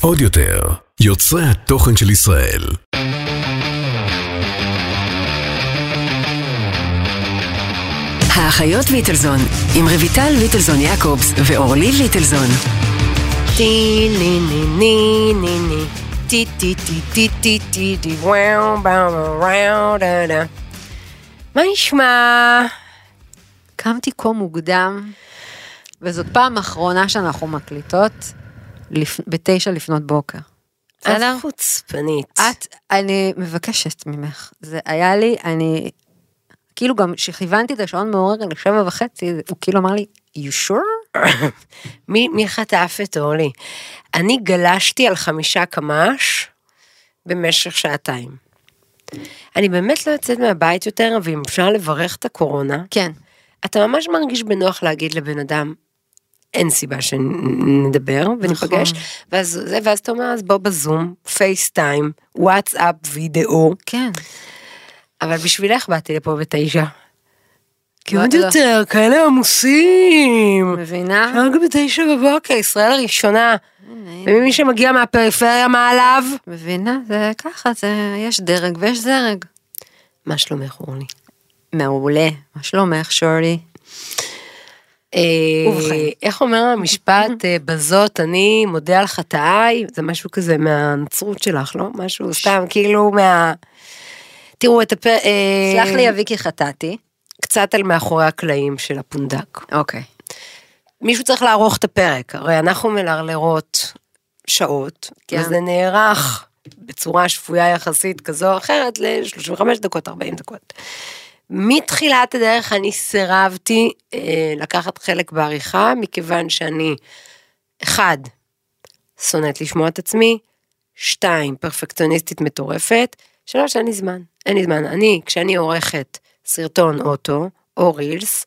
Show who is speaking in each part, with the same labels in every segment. Speaker 1: עוד יותר, יוצרי התוכן של ישראל.
Speaker 2: האחיות ליטלזון, עם רויטל ליטלזון יעקובס ואורלי ליטלזון.
Speaker 3: טי ני ני ני ני ני טי טי טי טי טי טי טי וואו באו באו וואו דה דה מה נשמע?
Speaker 4: קמתי כה מוקדם, וזאת פעם אחרונה שאנחנו מקליטות לפ... בתשע לפנות בוקר. בסדר? אה?
Speaker 3: את חוצפנית.
Speaker 4: את, אני מבקשת ממך. זה היה לי, אני... כאילו גם כשכיוונתי את השעון מעורר לשבע וחצי, הוא כאילו אמר לי, you sure?
Speaker 3: מי, מי חטף את אורלי? אני גלשתי על חמישה קמ"ש במשך שעתיים. אני באמת לא יוצאת מהבית יותר, ואם אפשר לברך את הקורונה,
Speaker 4: כן.
Speaker 3: אתה ממש מרגיש בנוח להגיד לבן אדם, אין סיבה שנדבר וניפגש,
Speaker 4: נכון.
Speaker 3: ואז, זה, ואז אתה אומר, אז בוא בזום, פייסטיים, וואטסאפ, וידאו,
Speaker 4: כן.
Speaker 3: אבל בשבילך באתי לפה בתשע. כי
Speaker 4: לא,
Speaker 3: כן, עוד
Speaker 4: לא.
Speaker 3: יותר, כאלה עמוסים.
Speaker 4: מבינה?
Speaker 3: רק בתשע בבוקר, ישראל הראשונה. ומי שמגיע מהפריפריה מעליו.
Speaker 4: מבינה? זה ככה, זה... יש דרג ויש זרג.
Speaker 3: מה שלומך, אורלי?
Speaker 4: מעולה. מה שלומך, שורלי?
Speaker 3: אה,
Speaker 4: ובכן. אוקיי.
Speaker 3: איך אומר המשפט, אה, בזאת אני מודה על חטאיי, זה משהו כזה מהנצרות שלך, לא? משהו סתם, כאילו מה... תראו את הפ... אה,
Speaker 4: סלח לי, אבי, כי חטאתי.
Speaker 3: קצת על מאחורי הקלעים של הפונדק.
Speaker 4: אוקיי.
Speaker 3: מישהו צריך לערוך את הפרק, הרי אנחנו מלרלרות שעות,
Speaker 4: כן.
Speaker 3: וזה נערך בצורה שפויה יחסית כזו או אחרת ל-35 דקות, 40 דקות. מתחילת הדרך אני סירבתי אה, לקחת חלק בעריכה, מכיוון שאני, אחד, שונאת לשמוע את עצמי, שתיים, פרפקציוניסטית מטורפת, שלוש, אין לי זמן, אין לי זמן. אני, כשאני עורכת סרטון אוטו, או רילס,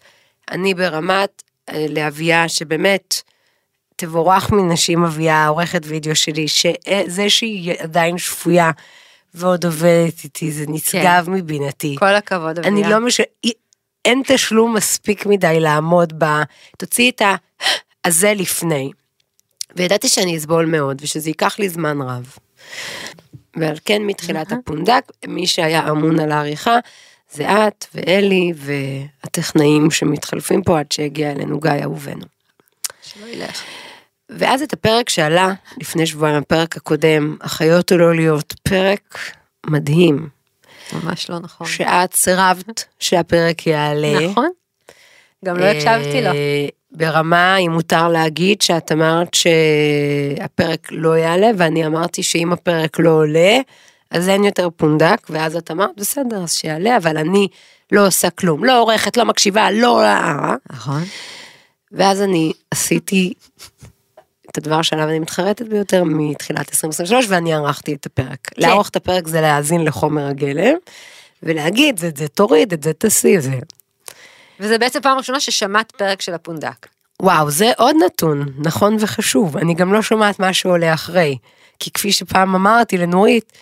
Speaker 3: אני ברמת אה, לאביה שבאמת, תבורך מנשים אביה, העורכת וידאו שלי, שזה שהיא עדיין שפויה ועוד עובדת איתי, זה נשגב מבינתי.
Speaker 4: כל הכבוד, אביה.
Speaker 3: אני לא מש... אי- אין תשלום מספיק מדי לעמוד ב... תוציאי את ה... הזה לפני. וידעתי שאני אסבול מאוד, ושזה ייקח לי זמן רב. ועל כן מתחילת הפונדק, מי שהיה אמון על העריכה, זה את ואלי והטכנאים שמתחלפים פה עד שהגיע אלינו גיא אהובנו.
Speaker 4: שלא ילך.
Speaker 3: ואז את הפרק שעלה לפני שבועיים, הפרק הקודם, אחיות או לא להיות, פרק מדהים,
Speaker 4: ממש לא נכון.
Speaker 3: שאת סירבת שהפרק יעלה.
Speaker 4: נכון. גם לא הקשבתי לו.
Speaker 3: אה, ברמה, אם מותר להגיד, שאת אמרת שהפרק לא יעלה, ואני אמרתי שאם הפרק לא עולה, אז אין יותר פונדק, ואז את אמרת, בסדר, אז שיעלה, אבל אני לא עושה כלום, לא עורכת, לא מקשיבה, לא... אה."
Speaker 4: נכון.
Speaker 3: ואז אני עשיתי את הדבר שעליו אני מתחרטת ביותר מתחילת 2023, ואני ערכתי את הפרק. כן. לערוך את הפרק זה להאזין לחומר הגלם, ולהגיד, זה, זה תוריד, את זה תעשי, זה.
Speaker 4: וזה בעצם פעם ראשונה ששמעת פרק של הפונדק.
Speaker 3: וואו, זה עוד נתון, נכון וחשוב. אני גם לא שומעת מה שעולה אחרי. כי כפי שפעם אמרתי לנורית,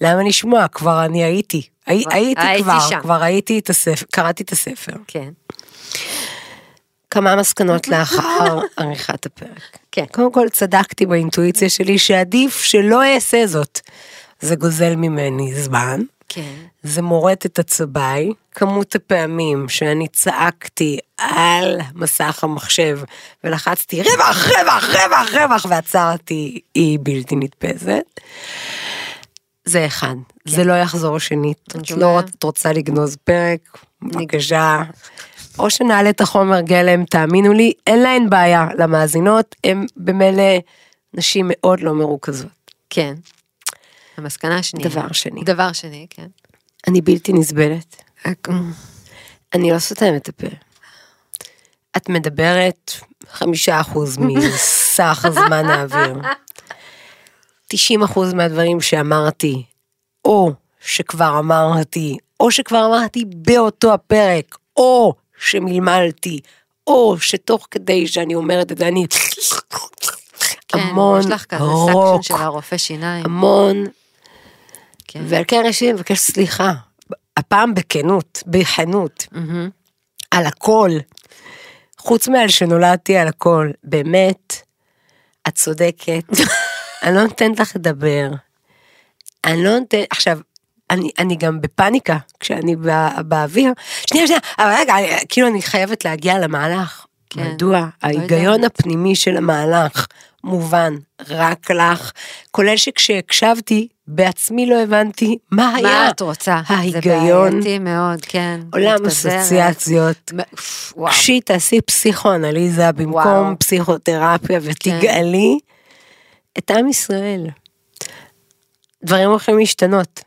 Speaker 3: למה לשמוע? כבר אני הייתי. הי,
Speaker 4: כבר-
Speaker 3: הייתי,
Speaker 4: הייתי
Speaker 3: כבר,
Speaker 4: שם.
Speaker 3: כבר הייתי את הספר, קראתי את הספר.
Speaker 4: כן.
Speaker 3: כמה מסקנות לאחר עריכת הפרק.
Speaker 4: כן.
Speaker 3: קודם כל, צדקתי באינטואיציה שלי שעדיף שלא אעשה זאת. זה גוזל ממני זמן.
Speaker 4: כן.
Speaker 3: זה מורט את הצבעי, כמות הפעמים שאני צעקתי על מסך המחשב ולחצתי רווח, רווח, רווח, רווח, ועצרתי, היא בלתי נתפסת. זה אחד, כן. זה לא יחזור שנית. את
Speaker 4: שומעת.
Speaker 3: לא את רוצה לגנוז פרק, בבקשה. או שנעלה את החומר גלם, תאמינו לי, אין להן בעיה למאזינות, הן במילא נשים מאוד לא מרוכזות.
Speaker 4: כן. המסקנה השנייה.
Speaker 3: דבר שני,
Speaker 4: דבר שני, כן.
Speaker 3: אני בלתי נסבלת. אני לא סותמת את הפה. את מדברת חמישה אחוז מסך הזמן האוויר. 90 אחוז מהדברים שאמרתי, או שכבר אמרתי, או שכבר אמרתי באותו הפרק, או שמלמלתי, או שתוך כדי שאני אומרת את זה, אני
Speaker 4: כן,
Speaker 3: המון
Speaker 4: יש לך כזה
Speaker 3: רוק,
Speaker 4: סקשן של הרופא שיניים.
Speaker 3: המון
Speaker 4: כן.
Speaker 3: ועל כן ראשית מבקש סליחה, הפעם בכנות, בכנות,
Speaker 4: Mm-hmm.
Speaker 3: על הכל. חוץ מעל שנולדתי על הכל, באמת, את צודקת, אני לא נותנת לך לדבר. אני לא נותנת, עכשיו, אני, אני גם בפאניקה כשאני בא, באוויר. שנייה, שנייה, אבל רגע, אני- כאילו אני חייבת להגיע למהלך.
Speaker 4: כן.
Speaker 3: מדוע?
Speaker 4: יודעת.
Speaker 3: ההיגיון הפנימי של המהלך מובן רק לך, כולל שכשהקשבתי, בעצמי לא הבנתי מה היה.
Speaker 4: מה את רוצה?
Speaker 3: ההיגיון.
Speaker 4: זה בעייתי מאוד, כן.
Speaker 3: עולם
Speaker 4: מתפזרת.
Speaker 3: אסוציאציות.
Speaker 4: מ- אוף, וואו.
Speaker 3: כשהיא תעשי פסיכואנליזה במקום
Speaker 4: וואו. כן.
Speaker 3: פסיכותרפיה ותגאלי את עם ישראל. דברים הולכים להשתנות.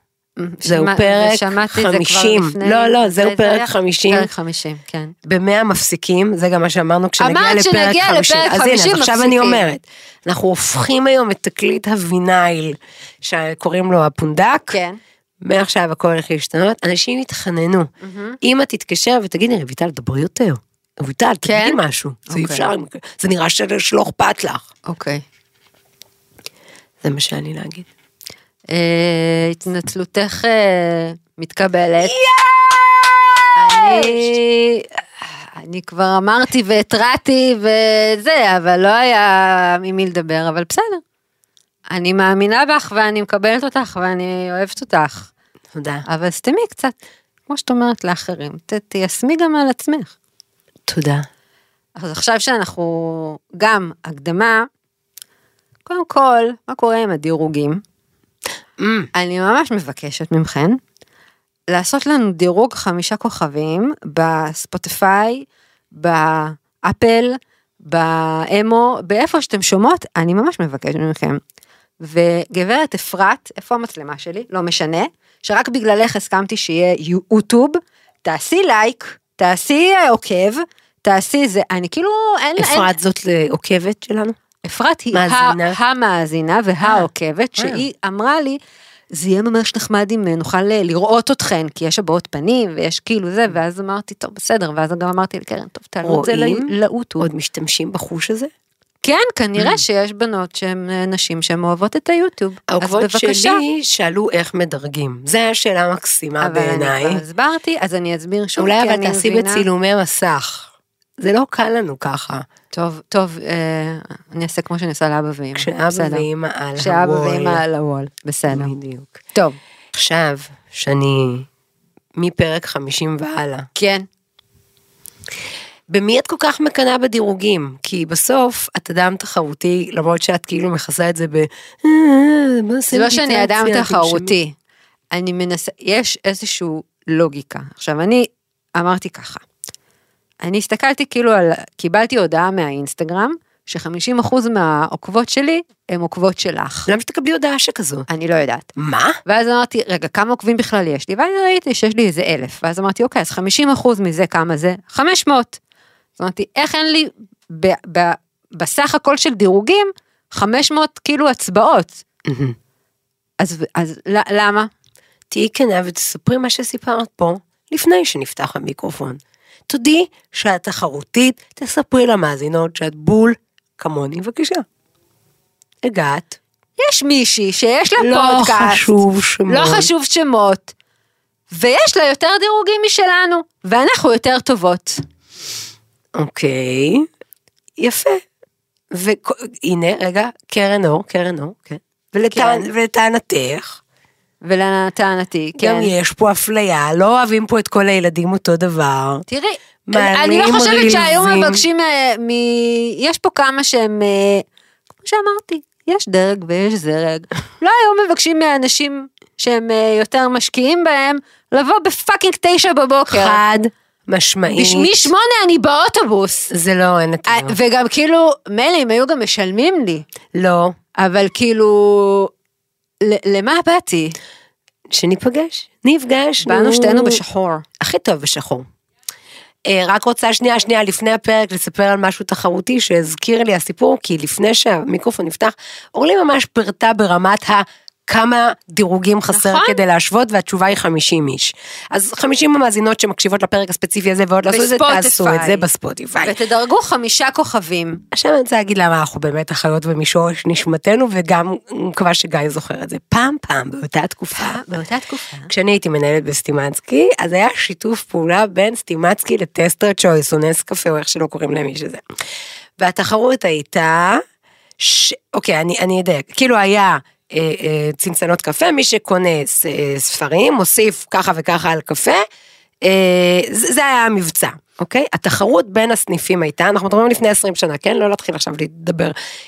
Speaker 3: זהו
Speaker 4: שמע-
Speaker 3: פרק
Speaker 4: ושמעתי את זה כבר
Speaker 3: 50.
Speaker 4: לפני-
Speaker 3: לא, לא, זהו
Speaker 4: זה
Speaker 3: פרק
Speaker 4: היה
Speaker 3: 50.
Speaker 4: פרק 50, כן.
Speaker 3: במאה מפסיקים, זה גם מה שאמרנו כשנגיע
Speaker 4: אמרת
Speaker 3: לפרק 50.
Speaker 4: שנגיע לפרק
Speaker 3: אז הנה,
Speaker 4: 50
Speaker 3: אז עכשיו אני
Speaker 4: מפסיקים.
Speaker 3: אומרת, אנחנו הופכים היום את תקליט הווינייל שקוראים לו הפונדק.
Speaker 4: כן.
Speaker 3: מעכשיו הכל הולך להשתנות, אנשים יתחננו. אמא תתקשר ותגיד לי, רויטל, דברי יותר. רויטל, תגידי
Speaker 4: כן?
Speaker 3: משהו. זה אי
Speaker 4: אוקיי.
Speaker 3: אפשר, זה נראה של- שלא אכפת לך.
Speaker 4: אוקיי.
Speaker 3: זה מה שהיה לי להגיד.
Speaker 4: אה, התנצלותך אה, מתקבלת. אני, אני כבר אמרתי והתרעתי וזה, אבל לא היה ממי לדבר, אבל בסדר. אני מאמינה בך ואני מקבלת אותך ואני אוהבת אותך,
Speaker 3: תודה.
Speaker 4: אבל סתמי קצת, כמו שאת אומרת לאחרים, ת, תיישמי גם על עצמך.
Speaker 3: תודה.
Speaker 4: אז עכשיו שאנחנו גם הקדמה, קודם כל, מה קורה עם הדירוגים? אני ממש מבקשת ממכן לעשות לנו דירוג חמישה כוכבים בספוטיפיי, באפל, באמו, באיפה שאתם שומעות, אני ממש מבקשת מכם. וגברת אפרת, איפה המצלמה שלי? לא משנה, שרק בגללך הסכמתי שיהיה יוטיוב, תעשי לייק, תעשי אה, עוקב, תעשי זה, אני כאילו, אין, אין,
Speaker 3: אפרת זאת אה, עוקבת שלנו?
Speaker 4: אפרת היא
Speaker 3: מאזינה. אה.
Speaker 4: מאזינה. המאזינה והעוקבת, שהיא אמרה לי, זה יהיה ממש נחמד אם אה, נוכל אה, לראות אתכן, כי יש הבעות פנים ויש כאילו זה, ואז אמרתי, טוב, בסדר, ואז גם אמרתי לקרן, טוב, תעלו את זה
Speaker 3: רואים?
Speaker 4: לאוטו.
Speaker 3: עוד משתמשים בחוש הזה?
Speaker 4: כן,
Speaker 3: אה.
Speaker 4: כנראה שיש בנות שהן אה, נשים שהן אוהבות את היוטיוב. אז
Speaker 3: העוקבות
Speaker 4: בבקשה.
Speaker 3: שלי שאלו איך מדרגים. זו השאלה המקסימה
Speaker 4: אבל
Speaker 3: בעיניי.
Speaker 4: אני כבר הסברתי, אז אני אסביר שוב,
Speaker 3: אולי
Speaker 4: כי
Speaker 3: אבל
Speaker 4: אני
Speaker 3: תעשי
Speaker 4: מבינה-
Speaker 3: בצילומי מסך. זה לא קל לנו ככה.
Speaker 4: טוב, טוב, אה, אני אעשה כמו שאני עושה לאבא ואמא.
Speaker 3: כשאבא
Speaker 4: בסדר.
Speaker 3: ואמא על הוול.
Speaker 4: כשאבא ואמא על הוול, בסדר.
Speaker 3: בדיוק.
Speaker 4: טוב,
Speaker 3: עכשיו, שאני מפרק 50 והלאה,
Speaker 4: כן.
Speaker 3: במי את כל כך מקנאה בדירוגים? כי בסוף את אדם תחרותי, למרות שאת כאילו מכסה את זה ב... "אה, בוא
Speaker 4: זה
Speaker 3: נשים
Speaker 4: לא שאני אדם
Speaker 3: דיגיטציה, תגשמי".
Speaker 4: תחרותי. אני מנסה, יש איזושהי לוגיקה. עכשיו, אני אמרתי ככה, אני הסתכלתי כאילו על, קיבלתי הודעה מהאינסטגרם, ש-50% מהעוקבות שלי הן עוקבות שלך.
Speaker 3: למה שתקבלי הודעה שכזו?
Speaker 4: אני לא יודעת.
Speaker 3: מה?
Speaker 4: ואז אמרתי, רגע, כמה עוקבים בכלל יש לי? ואז ראיתי שיש לי איזה אלף. ואז אמרתי, אוקיי, אז 50% מזה כמה זה? 500. אז אמרתי, איך אין לי ב- ב- בסך הכל של דירוגים 500 כאילו הצבעות? אז, אז ל- למה?
Speaker 3: תהיי כנה ותספרי מה שסיפרת פה לפני שנפתח המיקרופון. תודי שאת תחרותית, תספרי למאזינות שאת בול כמוני, בבקשה. הגעת.
Speaker 4: יש מישהי שיש לה
Speaker 3: לא
Speaker 4: פודקאסט,
Speaker 3: חשוב שמות.
Speaker 4: לא חשוב שמות, ויש לה יותר דירוגים משלנו, ואנחנו יותר טובות.
Speaker 3: אוקיי, יפה. והנה, רגע, קרן אור, קרן אור, כן. ולטענ...
Speaker 4: כן.
Speaker 3: ולטענתך,
Speaker 4: ולטענתי,
Speaker 3: גם
Speaker 4: כן.
Speaker 3: יש פה אפליה, לא אוהבים פה את כל הילדים אותו דבר.
Speaker 4: תראי,
Speaker 3: מעלים
Speaker 4: אני לא חושבת שהיו
Speaker 3: רילזים.
Speaker 4: מבקשים אה, מ... יש פה כמה שהם, אה, כמו שאמרתי, יש דרג ויש זרג. לא היו מבקשים מאנשים שהם אה, יותר משקיעים בהם, לבוא בפאקינג תשע בבוקר.
Speaker 3: חד משמעית.
Speaker 4: בש- משמונה אני באוטובוס.
Speaker 3: זה לא, אין
Speaker 4: אה,
Speaker 3: נתון.
Speaker 4: וגם כאילו, מילא אם היו גם משלמים לי,
Speaker 3: לא,
Speaker 4: אבל כאילו, ל- למה באתי?
Speaker 3: שניפגש, נפגש.
Speaker 4: באנו
Speaker 3: נו.
Speaker 4: שתינו בשחור.
Speaker 3: הכי טוב בשחור. אה, רק רוצה שנייה, שנייה, לפני הפרק, לספר על משהו תחרותי שהזכיר לי הסיפור, כי לפני שהמיקרופון נפתח, אורלי ממש פירטה ברמת ה... כמה דירוגים חסר
Speaker 4: נכון.
Speaker 3: כדי להשוות, והתשובה היא 50 איש. אז 50 המאזינות שמקשיבות לפרק הספציפי הזה ועוד לא עשו את זה, תעשו את זה
Speaker 4: בספוטיפיי.
Speaker 3: בספוטיפיי.
Speaker 4: ותדרגו חמישה כוכבים.
Speaker 3: עכשיו אני רוצה להגיד למה אנחנו באמת אחיות ומשורש נשמתנו, וגם מקווה שגיא זוכר את זה. פעם פעם, באותה תקופה,
Speaker 4: באותה תקופה.
Speaker 3: כשאני הייתי מנהלת בסטימצקי, אז היה שיתוף פעולה בין סטימצקי לטסטר צ'ויס, או נס קפה, או איך שלא קוראים למי שזה. והתחרות הייתה ש... אוקיי, אני, אני אדייק. כאילו היה אה, אה, צנצנות קפה, מי שקונה ס, אה, ספרים, מוסיף ככה וככה על קפה, אה, זה, זה היה המבצע, אוקיי? התחרות בין הסניפים הייתה, אנחנו מדברים לפני 20 שנה, כן? לא להתחיל עכשיו לדבר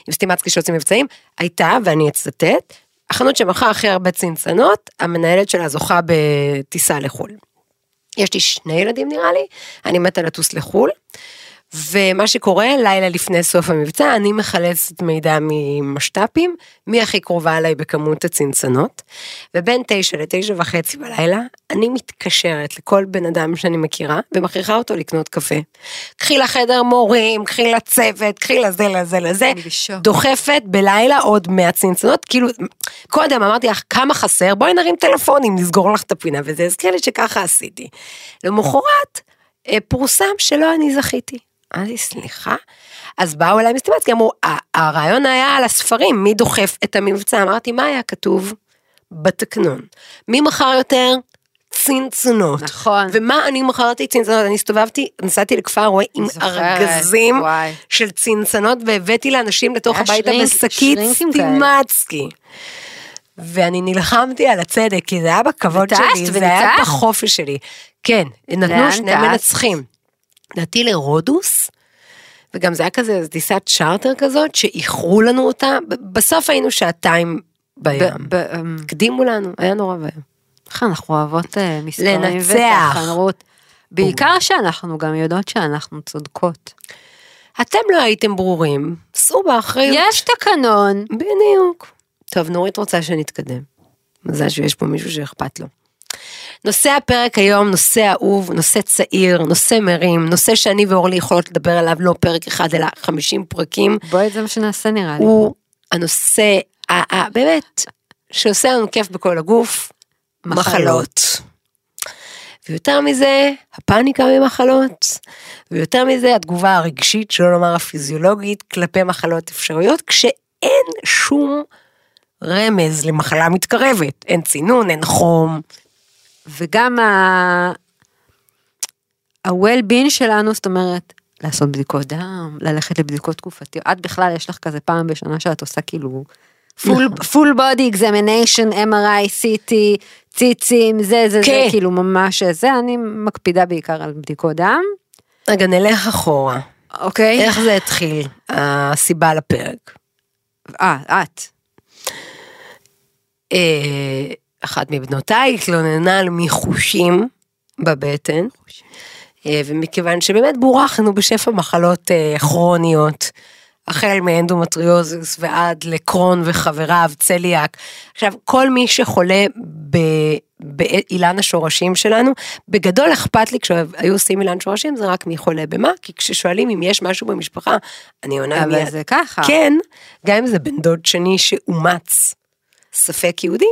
Speaker 3: עם סטימצקי שיוצאים מבצעים, הייתה, ואני אצטט, החנות שמכרה הכי הרבה צנצנות, המנהלת שלה זוכה בטיסה לחו"ל. יש לי שני ילדים נראה לי, אני מתה לטוס לחו"ל. ומה שקורה, לילה לפני סוף המבצע, אני מחלצת מידע ממשת"פים, מי הכי קרובה אליי בכמות הצנצנות, ובין תשע לתשע וחצי בלילה, אני מתקשרת לכל בן אדם שאני מכירה, ומכריחה אותו לקנות קפה. קחי לחדר מורים, קחי לצוות, קחי לזה, לזה, לזה,
Speaker 4: אני בשוק.
Speaker 3: דוחפת בלילה עוד 100 צנצנות, כאילו, קודם אמרתי לך, כמה חסר, בואי נרים טלפונים, נסגור לך את הפינה, וזה הזכיר לי שככה עשיתי. למחרת, אה, פורסם שלא אני זכיתי. אמרתי, סליחה? אז באו אליי מסטימצקי, אמרו, "ה- הרעיון היה על הספרים, מי דוחף את המבצע? אמרתי, מה היה כתוב? בתקנון. מי מכר יותר? צנצנות.
Speaker 4: נכון.
Speaker 3: ומה אני מכרתי צנצנות? אני הסתובבתי, נסעתי לכפר רואה עם
Speaker 4: זוכרת,
Speaker 3: ארגזים
Speaker 4: וואי.
Speaker 3: של צנצנות, והבאתי לאנשים לתוך
Speaker 4: היה
Speaker 3: הביתה
Speaker 4: שרינק-
Speaker 3: בשקית
Speaker 4: שרינקים כאלה.
Speaker 3: סטימצקי. ואני נלחמתי על הצדק, כי זה היה בכבוד
Speaker 4: וטסת
Speaker 3: שלי, זה היה
Speaker 4: וניצחת?
Speaker 3: בחופש שלי. כן, נתנו
Speaker 4: לאן
Speaker 3: שני
Speaker 4: טסת?
Speaker 3: מנצחים. לדעתי לרודוס, וגם זה היה כזה איזו טיסת צ'רטר כזאת, שאיחרו לנו אותה, ב- בסוף היינו שעתיים בים.
Speaker 4: ב- ב- אמ,
Speaker 3: הקדימו לנו, היה נורא ואיום.
Speaker 4: איך אנחנו אוהבות אה, מספרים
Speaker 3: לנצח.
Speaker 4: ותחרות. בעיקר שאנחנו גם יודעות שאנחנו צודקות.
Speaker 3: אתם לא הייתם ברורים, סעו באחריות.
Speaker 4: יש תקנון.
Speaker 3: בדיוק. טוב, נורית רוצה שנתקדם. מזל שיש פה מישהו שאכפת לו. נושא הפרק היום, נושא אהוב, נושא צעיר, נושא מרים, נושא שאני ואורלי יכולות לדבר עליו לא פרק אחד, אלא 50 פרקים.
Speaker 4: בואי, זה מה שנעשה נראה לי.
Speaker 3: הוא הנושא, ה- ה- באמת, שעושה לנו כיף בכל הגוף,
Speaker 4: מחלות.
Speaker 3: מחלות. ויותר מזה, הפאניקה ממחלות, ויותר מזה, התגובה הרגשית, שלא לומר הפיזיולוגית, כלפי מחלות אפשריות, כשאין שום רמז למחלה מתקרבת. אין צינון, אין חום.
Speaker 4: וגם ה... ה-well-being שלנו, זאת אומרת, לעשות בדיקות דם, ללכת לבדיקות תקופתיות. את בכלל, יש לך כזה פעם בשנה שאת עושה כאילו full, full body examination, MRI, CT, ציצים, זה, זה, זה,
Speaker 3: כן.
Speaker 4: כאילו ממש זה. אני מקפידה בעיקר על בדיקות דם.
Speaker 3: רגע, נלך אחורה.
Speaker 4: אוקיי.
Speaker 3: איך זה התחיל, הסיבה לפרק?
Speaker 4: אה, את.
Speaker 3: אה, אחת מבנותיי התלוננה על מיחושים בבטן, אה, ומכיוון שבאמת בורחנו בשפע מחלות אה, כרוניות, החל מאנדומטריוזיס ועד לקרון וחבריו, צליאק. עכשיו, כל מי שחולה ב... באילן השורשים שלנו, בגדול אכפת לי כשהיו עושים אילן שורשים זה רק מי חולה במה, כי כששואלים אם יש משהו במשפחה, אני עונה מיד.
Speaker 4: אבל זה ככה.
Speaker 3: כן, גם אם זה בן דוד שני שאומץ ספק יהודי,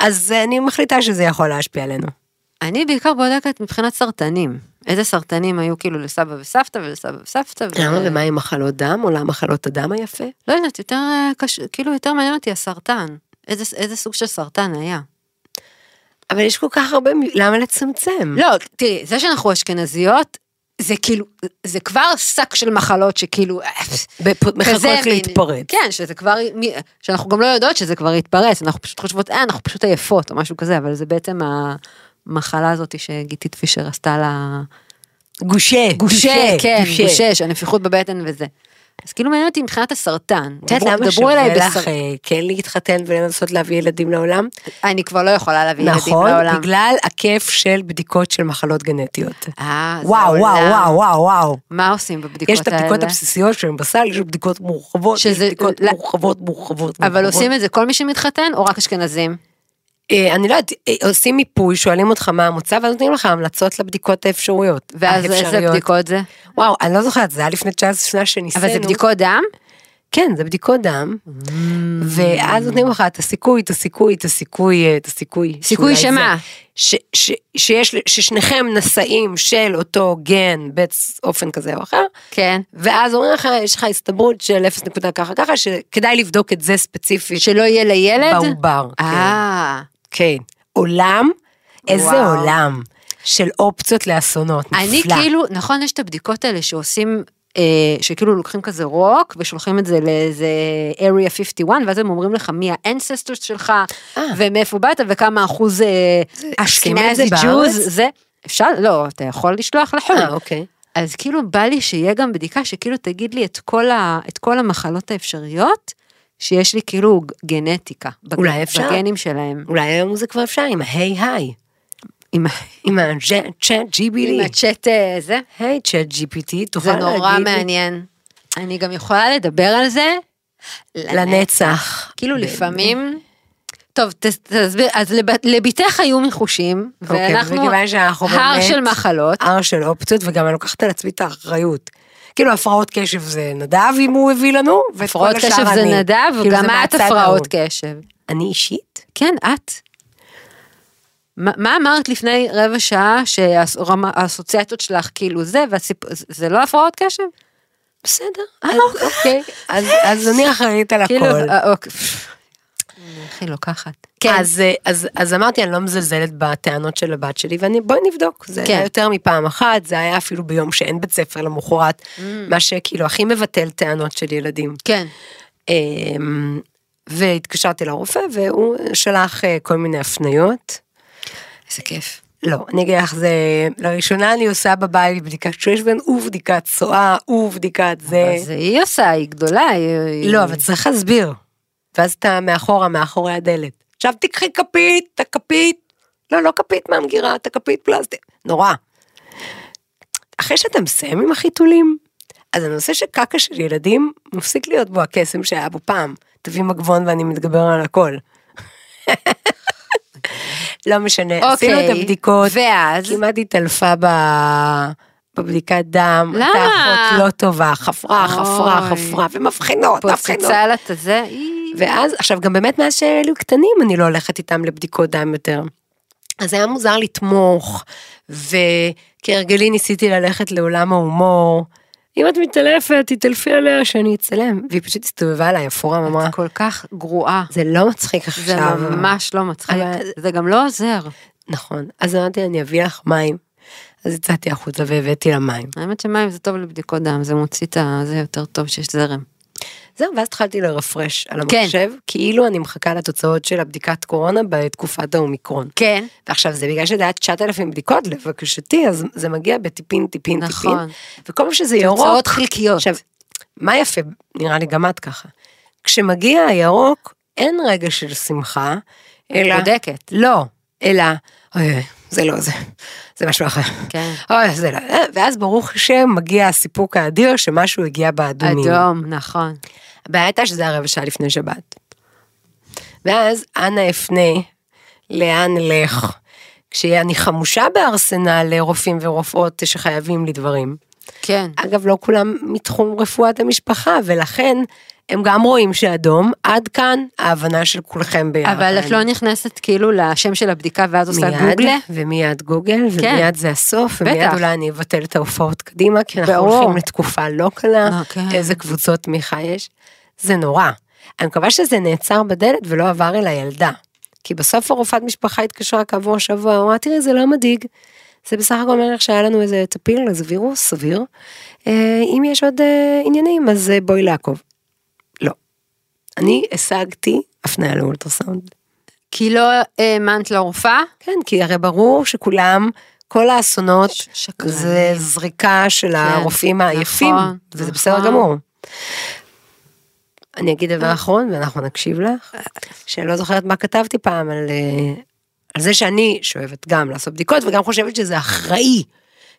Speaker 3: אז אה, אני מחליטה שזה יכול להשפיע עלינו.
Speaker 4: אני בעיקר בודקת מבחינת סרטנים. איזה סרטנים היו כאילו לסבא וסבתא ולסבא וסבתא. ו-
Speaker 3: למה לא? ומה עם מחלות דם, עולה מחלות הדם היפה?
Speaker 4: לא יודעת, יותר אה, קש... כאילו יותר מעניין אותי הסרטן. איזה, איזה סוג של סרטן היה.
Speaker 3: אבל יש כל כך הרבה, מ- למה לצמצם?
Speaker 4: לא, תראי, זה שאנחנו אשכנזיות, זה כאילו, זה כבר שק של מחלות שכאילו... אה,
Speaker 3: בפ-
Speaker 4: כזה
Speaker 3: מחכות
Speaker 4: מין-
Speaker 3: להתפרץ.
Speaker 4: כן, שזה כבר, מי- שאנחנו גם לא יודעות שזה כבר התפרץ, אנחנו פשוט חושבות, אה, אנחנו פשוט עייפות או משהו כזה, אבל זה בעצם המחלה הזאת שגיתית פישר עשתה לה...
Speaker 3: גושה,
Speaker 4: גושה, כן, גושה, של נפיחות בבטן וזה. אז כאילו מעניין אותי מבחינת הסרטן.
Speaker 3: את יודעת
Speaker 4: דברו-
Speaker 3: למה
Speaker 4: דברו
Speaker 3: שווה
Speaker 4: אליי
Speaker 3: לך
Speaker 4: בסר-
Speaker 3: אה, כן להתחתן ולנסות להביא ילדים לעולם?
Speaker 4: אני כבר לא יכולה להביא ילדים
Speaker 3: נכון,
Speaker 4: לעולם.
Speaker 3: בגלל הכיף של בדיקות של מחלות גנטיות.
Speaker 4: אה, זה
Speaker 3: וואו, וואו,
Speaker 4: עולם.
Speaker 3: וואו, וואו, וואו.
Speaker 4: מה עושים בבדיקות האלה?
Speaker 3: יש את הבדיקות הבסיסיות שהן בסל, יש בדיקות מורחבות, יש
Speaker 4: שזה-
Speaker 3: בדיקות
Speaker 4: לא-
Speaker 3: מורחבות, מורחבות,
Speaker 4: אבל
Speaker 3: מורחבות.
Speaker 4: עושים את זה כל מי שמתחתן, או רק אשכנזים?
Speaker 3: אה, אני לא יודעת, אה, עושים מיפוי, שואלים אותך מה המוצא, ואז נותנים לך המלצות לבדיקות האפשרויות.
Speaker 4: ואז איזה
Speaker 3: האפשריות.
Speaker 4: בדיקות זה?
Speaker 3: וואו, אני לא זוכרת, זה היה לפני 19 שנה שניסינו.
Speaker 4: אבל זה בדיקות דם?
Speaker 3: כן, זה בדיקות דם. ואז נותנים לך את הסיכוי, את הסיכוי, את הסיכוי, אה, את הסיכוי.
Speaker 4: סיכוי
Speaker 3: שאולי
Speaker 4: שמה?
Speaker 3: זה- ש- ש- שיש- ששניכם נשאים של אותו גן באופן כזה או אחר,
Speaker 4: כן.
Speaker 3: ואז אומרים לך, יש לך הסתברות של 0 נקודה ככה ככה, שכדאי לבדוק את זה ספציפית
Speaker 4: שלא יהיה לילד?
Speaker 3: בעובר. כן.
Speaker 4: אה,
Speaker 3: כן. עולם, איזה
Speaker 4: וואו.
Speaker 3: עולם של אופציות לאסונות, נפלא.
Speaker 4: כאילו, אני כאילו, נכון, יש את הבדיקות האלה שעושים אה, שכאילו לוקחים כזה רוק ושולחים את זה לאיזה area 51 ואז הם אומרים לך מי האנססטורס שלך
Speaker 3: אה.
Speaker 4: ומאיפה באת וכמה אחוז אה,
Speaker 3: עושים את זה
Speaker 4: אשכנזי
Speaker 3: בארץ?
Speaker 4: ג'וז זה אפשר לא אתה יכול לשלוח לחו"ל.
Speaker 3: אה, אוקיי.
Speaker 4: אז כאילו בא לי שיהיה גם בדיקה שכאילו תגיד לי את כל, ה, את כל המחלות האפשריות שיש לי כאילו ג- גנטיקה. בג-
Speaker 3: אולי אפשר.
Speaker 4: בגנים שלהם.
Speaker 3: אולי היום זה כבר אפשר עם ההיי היי,
Speaker 4: עם,
Speaker 3: עם הצ'אט
Speaker 4: עם
Speaker 3: GBT.
Speaker 4: הצ'אט אה, זה.
Speaker 3: היי צ'אט GPT, תוכל
Speaker 4: זה
Speaker 3: להגיד
Speaker 4: נורא
Speaker 3: לי-
Speaker 4: מעניין. אני גם יכולה לדבר על זה.
Speaker 3: לנצח.
Speaker 4: כאילו לפעמים... טוב, ת- תסביר, אז לב- לבתך היו מחושים,
Speaker 3: אוקיי,
Speaker 4: ואנחנו
Speaker 3: מכיוון שאנחנו
Speaker 4: הר
Speaker 3: באמת-
Speaker 4: של מחלות.
Speaker 3: הר של אופציות, וגם אני לוקחת על עצמי את האחריות. כאילו הפרעות קשב זה נדב, אם הוא הביא לנו, ואת כל
Speaker 4: הפרעות
Speaker 3: השאר
Speaker 4: קשב זה
Speaker 3: אני.
Speaker 4: נדב,
Speaker 3: כאילו,
Speaker 4: וגם
Speaker 3: זה
Speaker 4: את
Speaker 3: מהצד
Speaker 4: הפרעות
Speaker 3: ההוא.
Speaker 4: קשב.
Speaker 3: אני אישית?
Speaker 4: כן, את. מה מה אמרת לפני רבע שעה שהאסוציאציות שלך כאילו זה, והסיפור, זה לא הפרעות קשב?
Speaker 3: בסדר. אז- אוקיי. אז- אז אני אחראית על
Speaker 4: כאילו,
Speaker 3: הכל.
Speaker 4: אה, אוקיי. אני הכי לוקחת. כן,
Speaker 3: אז, אה, אז, אז אמרתי, אני לא מזלזלת בטענות של הבת שלי, ואני, בואי נבדוק. זה
Speaker 4: כן.
Speaker 3: כן. היה יותר מפעם אחת, זה היה אפילו ביום שאין בית ספר למחרת, mm. מה שכאילו הכי מבטל טענות של ילדים.
Speaker 4: כן.
Speaker 3: אמ, והתקשרתי לרופא, והוא שלח אה, כל מיני הפניות.
Speaker 4: איזה כיף.
Speaker 3: לא, אני אגיד לך, זה, לראשונה אני עושה בבית בדיקת שושבן ובדיקת צואה ובדיקת זה.
Speaker 4: אז היא עושה, היא גדולה, היא...
Speaker 3: לא, אבל צריך להסביר. ואז אתה מאחורה, מאחורי הדלת. עכשיו תיקחי כפית, את הכפית. לא, לא כפית מהמגירה, את הכפית פלסטיק. נורא. אחרי שאתה מסיים עם החיתולים, אז הנושא של קקה של ילדים, מפסיק להיות בו הקסם שהיה בו פעם. תביא מגבון ואני מתגבר על הכל. לא משנה, עשינו את
Speaker 4: אוקיי,
Speaker 3: הבדיקות,
Speaker 4: ואז?
Speaker 3: כמעט התעלפה ב... בבדיקת דם,
Speaker 4: למה?
Speaker 3: הייתה אחות לא טובה, חפרה, חפרה,
Speaker 4: אוי.
Speaker 3: חפרה, ומבחינות, מבחינות.
Speaker 4: פוצצה לה את הזה, היא...
Speaker 3: ואז, עכשיו גם באמת מאז שהיו קטנים אני לא הולכת איתם לבדיקות דם יותר. אז היה מוזר לתמוך, וכהרגלי ניסיתי ללכת לעולם ההומור. אם את מתעלפת, תתעלפי עליה שאני אצלם. והיא פשוט הסתובבה עליי, הפורם אמרה,
Speaker 4: את כל כך גרועה.
Speaker 3: זה לא מצחיק עכשיו.
Speaker 4: זה ממש לא מצחיק.
Speaker 3: אבל-
Speaker 4: זה גם לא עוזר.
Speaker 3: נכון. אז אמרתי, אני אביא לך מים. אז יצאתי החוצה והבאתי לה מים.
Speaker 4: האמת שמים זה טוב לבדיקות דם, זה מוציא את ה... זה יותר טוב שיש זרם.
Speaker 3: זהו, ואז התחלתי לרפרש על
Speaker 4: כן.
Speaker 3: המחשב, כאילו אני מחכה לתוצאות של הבדיקת קורונה בתקופת האומיקרון.
Speaker 4: כן.
Speaker 3: ועכשיו זה בגלל שזה היה 9,000 בדיקות לבקשתי, אז זה מגיע בטיפין, טיפין,
Speaker 4: נכון.
Speaker 3: טיפין. וכל מה שזה ירוק...
Speaker 4: תוצאות חלקיות.
Speaker 3: עכשיו, מה יפה, נראה לי גם את ככה. כשמגיע הירוק, אין רגע של שמחה, אלא...
Speaker 4: בודקת.
Speaker 3: לא, אלא, אוי, אוי, זה לא זה, זה משהו אחר.
Speaker 4: כן.
Speaker 3: אוי, זה לא... אה, ואז ברוך השם מגיע הסיפוק האדיר שמשהו הגיע באדומים.
Speaker 4: אדום, נכון.
Speaker 3: הבעיה הייתה שזה היה רבע שעה לפני שבת. ואז אנה אפנה, לאן לך, כשאני חמושה בארסנל לרופאים ורופאות שחייבים לי דברים.
Speaker 4: כן.
Speaker 3: אגב, לא כולם מתחום רפואת המשפחה, ולכן הם גם רואים שאדום, עד כאן ההבנה של כולכם ביחד.
Speaker 4: אבל את לא נכנסת כאילו לשם של הבדיקה ואז עושה
Speaker 3: מיד,
Speaker 4: גוגלה?
Speaker 3: ומיד גוגל,
Speaker 4: כן.
Speaker 3: ומיד זה הסוף, ומיד
Speaker 4: בטח.
Speaker 3: אולי אני אבטל את ההופעות קדימה, כי אנחנו
Speaker 4: ברור.
Speaker 3: הולכים לתקופה לא קלה,
Speaker 4: אה, כן.
Speaker 3: איזה קבוצות תמיכה יש. זה נורא. אני מקווה שזה נעצר בדלת ולא עבר אל הילדה. כי בסוף הרופאת משפחה התקשרה כעבור שבוע, אמרה, תראי, זה לא מדאיג. זה בסך הכל אומר לך שהיה לנו איזה טפיל, איזה וירוס סביר. אה, אם יש עוד אה, עניינים, אז אה, בואי לעקוב. לא. אני השגתי הפניה לאולטרסאונד.
Speaker 4: כי לא האמנת לרופאה?
Speaker 3: כן, כי הרי ברור שכולם, כל האסונות,
Speaker 4: ש- שקרנים.
Speaker 3: זה זריקה של הרופאים העייפים,
Speaker 4: כן, נכון,
Speaker 3: וזה
Speaker 4: נכון.
Speaker 3: בסדר גמור. אני אגיד דבר אחרון, ואנחנו נקשיב לך, שאני לא זוכרת מה כתבתי פעם על, אה, על זה שאני שואבת גם לעשות בדיקות, וגם חושבת שזה אחראי.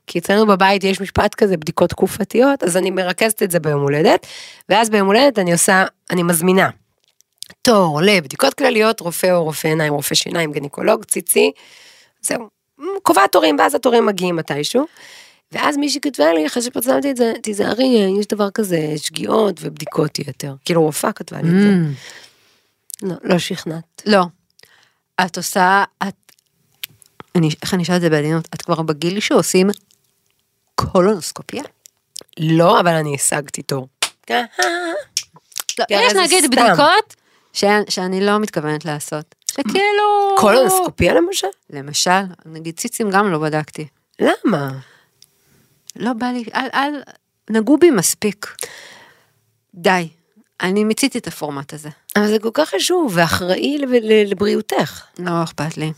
Speaker 3: כי אצלנו בבית יש משפט כזה, בדיקות תקופתיות, אז אני מרכזת את זה ביום הולדת, ואז ביום הולדת אני עושה, אני מזמינה. תור לבדיקות כלליות, רופא או רופא עיניים, רופא שיניים, גניקולוג, ציצי, זהו. קובעת תורים, ואז התורים מגיעים מתישהו. ואז מישהי כתבה לי, אחרי שפרסמתי את זה, תיזהרי, יש דבר כזה, שגיאות ובדיקות יתר. כאילו רופאה כתבה לי את זה.
Speaker 4: Mm.
Speaker 3: לא, לא שכנעת.
Speaker 4: לא. את עושה, את... אני, איך אני אשאל את זה בעדינות? את כבר בגיל שעושים קולונוסקופיה?
Speaker 3: לא, אבל אני השגתי תור.
Speaker 4: לא,
Speaker 3: כי הרי
Speaker 4: יש
Speaker 3: זה
Speaker 4: נגיד
Speaker 3: כן, סתם.
Speaker 4: בדיקות ש- שאני לא מתכוונת לעשות. שכאילו...
Speaker 3: קולונוסקופיה למשל?
Speaker 4: למשל, נגיד ציצים גם לא בדקתי.
Speaker 3: למה?
Speaker 4: לא בא לי, אל, אל, נגעו בי מספיק. די, אני מיציתי את הפורמט הזה.
Speaker 3: אבל זה כל כך חשוב ואחראי לב- ל- לבריאותך.
Speaker 4: לא אכפת לי.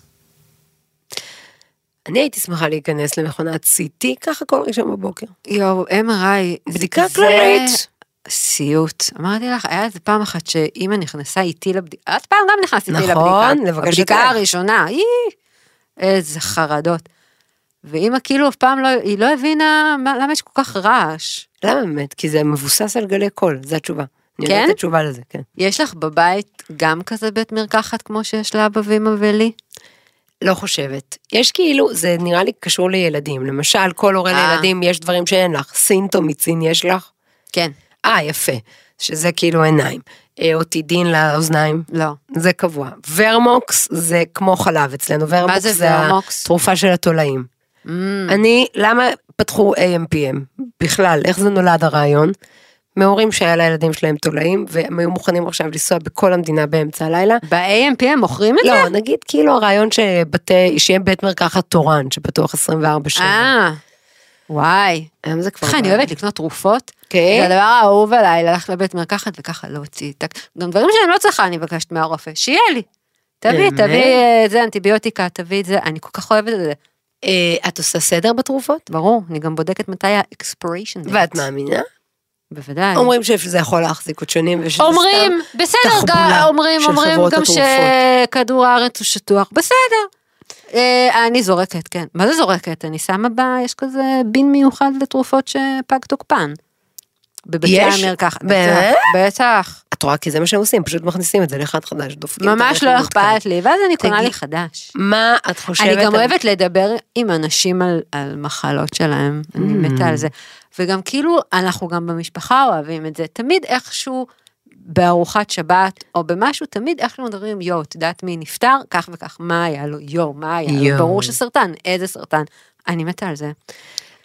Speaker 3: אני הייתי שמחה להיכנס למכונת CT ככה כל ראשון בבוקר.
Speaker 4: יואו, MRI, זה
Speaker 3: בדיקה
Speaker 4: כזה
Speaker 3: כללית.
Speaker 4: סיוט. אמרתי לך, היה איזה פעם אחת שאימא נכנסה איתי לבדיקה, את פעם גם נכנסת איתי לבדיקה.
Speaker 3: נכון, לבקשתך.
Speaker 4: הבדיקה הראשונה, היא, איזה חרדות. ואימא כאילו אף פעם לא, היא לא הבינה מה- למה יש כל כך רעש.
Speaker 3: למה באמת? כי זה מבוסס על גלי קול, זו התשובה. אני
Speaker 4: כן?
Speaker 3: יודעת את התשובה לזה, כן.
Speaker 4: יש לך בבית גם כזה בית מרקחת כמו שיש לאבא ואמא ולי?
Speaker 3: לא חושבת. יש כאילו, זה נראה לי קשור לילדים. למשל, כל הורה
Speaker 4: אה.
Speaker 3: לילדים, יש דברים שאין לך. סינטומיצין יש לך?
Speaker 4: כן.
Speaker 3: אה, יפה. שזה כאילו עיניים. אה, אוטידין לאוזניים.
Speaker 4: לא.
Speaker 3: זה קבוע. ורמוקס זה כמו חלב אצלנו. ורמוקס
Speaker 4: זה ורמוקס?
Speaker 3: התרופה של התולעים.
Speaker 4: Mm,
Speaker 3: אני, למה פתחו AMPM? בכלל, איך זה נולד הרעיון? מהורים שהיה לילדים שלהם תולעים, והם היו מוכנים עכשיו לנסוע בכל המדינה באמצע הלילה.
Speaker 4: ב-AMP הם מוכרים את זה?
Speaker 3: לא, נגיד כאילו הרעיון שבתי, שיהיה בית מרקחת תורן שפתוח 24 שנה.
Speaker 4: אה, וואי.
Speaker 3: היום זה כבר...
Speaker 4: איך אה, אני
Speaker 3: בעיה.
Speaker 4: אוהבת אוקיי. לקנות תרופות. זה
Speaker 3: כן?
Speaker 4: הדבר האהוב עליי, ללכת לבית מרקחת וככה להוציא. את- גם דברים שאני לא צריכה אני מבקשת מהרופא, שיהיה לי. תביא,
Speaker 3: באמת?
Speaker 4: תביא אה, את זה, אנטיביוטיקה, תביא את זה, אני כל כך אוהבת את זה.
Speaker 3: אה, את עושה סדר בתרופות?
Speaker 4: ברור, אני גם בודקת מתי ה-expiration date.
Speaker 3: ואת מאמינה?
Speaker 4: בוודאי.
Speaker 3: אומרים שזה יכול להחזיק עוד שנים ושזה סתם...
Speaker 4: אומרים, בסדר,
Speaker 3: תחבולה
Speaker 4: גם, אה, אומרים,
Speaker 3: של
Speaker 4: אומרים
Speaker 3: חברות
Speaker 4: גם
Speaker 3: התרופות.
Speaker 4: שכדור הארץ הוא שטוח, בסדר. אה, אני זורקת, כן. מה זה זורקת? אני שמה בה, יש כזה בין מיוחד לתרופות שפג תוקפן. בבתי
Speaker 3: יש?
Speaker 4: המרקחת. בטח,
Speaker 3: באמת?
Speaker 4: בטח.
Speaker 3: את רואה? כי זה מה שהם עושים, פשוט מכניסים את זה לאחד חדש, דופקים את
Speaker 4: ממש
Speaker 3: הרכב
Speaker 4: לא
Speaker 3: כאילו, מותקן.
Speaker 4: אכפת לי, ואז אני קונה
Speaker 3: תגיד-
Speaker 4: לי חדש.
Speaker 3: מה את חושבת?
Speaker 4: אני גם
Speaker 3: על-
Speaker 4: אוהבת לדבר עם אנשים על, על מחלות שלהם, אני מתה על זה. וגם כאילו, אנחנו גם במשפחה אוהבים את זה. תמיד איכשהו בארוחת שבת או במשהו, תמיד איכשהו מדברים, יואו, את יודעת מי נפטר? כך וכך, מה היה לו? יואו, מה היה
Speaker 3: יואו.
Speaker 4: לו? ברור שסרטן, איזה סרטן. אני מתה על זה.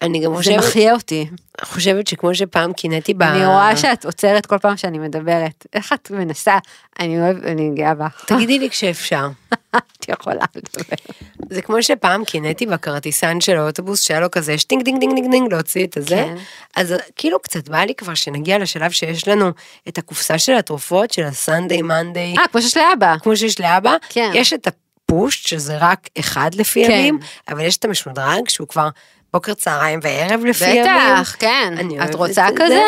Speaker 3: אני גם
Speaker 4: זה
Speaker 3: חושבת-
Speaker 4: מחיה אותי.
Speaker 3: חושבת שכמו שפעם קינאתי ב...
Speaker 4: אני רואה שאת עוצרת כל פעם שאני מדברת. איך את מנסה? אני אוהב, אני גאה בך.
Speaker 3: תגידי לי כשאפשר.
Speaker 4: את יכולה לדבר.
Speaker 3: זה כמו שפעם קינאתי בכרטיסן של האוטובוס, שהיה לו כזה שטינג דינג דינג דינג דינג להוציא את הזה.
Speaker 4: כן.
Speaker 3: אז כאילו קצת בא לי כבר שנגיע לשלב שיש לנו את הקופסה של התרופות, של הסנדיי מנדיי,
Speaker 4: אה, כמו שיש לאבא.
Speaker 3: כמו שיש לאבא.
Speaker 4: כן.
Speaker 3: יש את הפושט, שזה רק אחד לפי
Speaker 4: כן.
Speaker 3: ימים, אבל יש את המשודרג שהוא כבר בוקר, צהריים וערב לפי ימים.
Speaker 4: בטח, כן.
Speaker 3: אני
Speaker 4: את
Speaker 3: אוהבת
Speaker 4: רוצה
Speaker 3: את זה.
Speaker 4: כזה?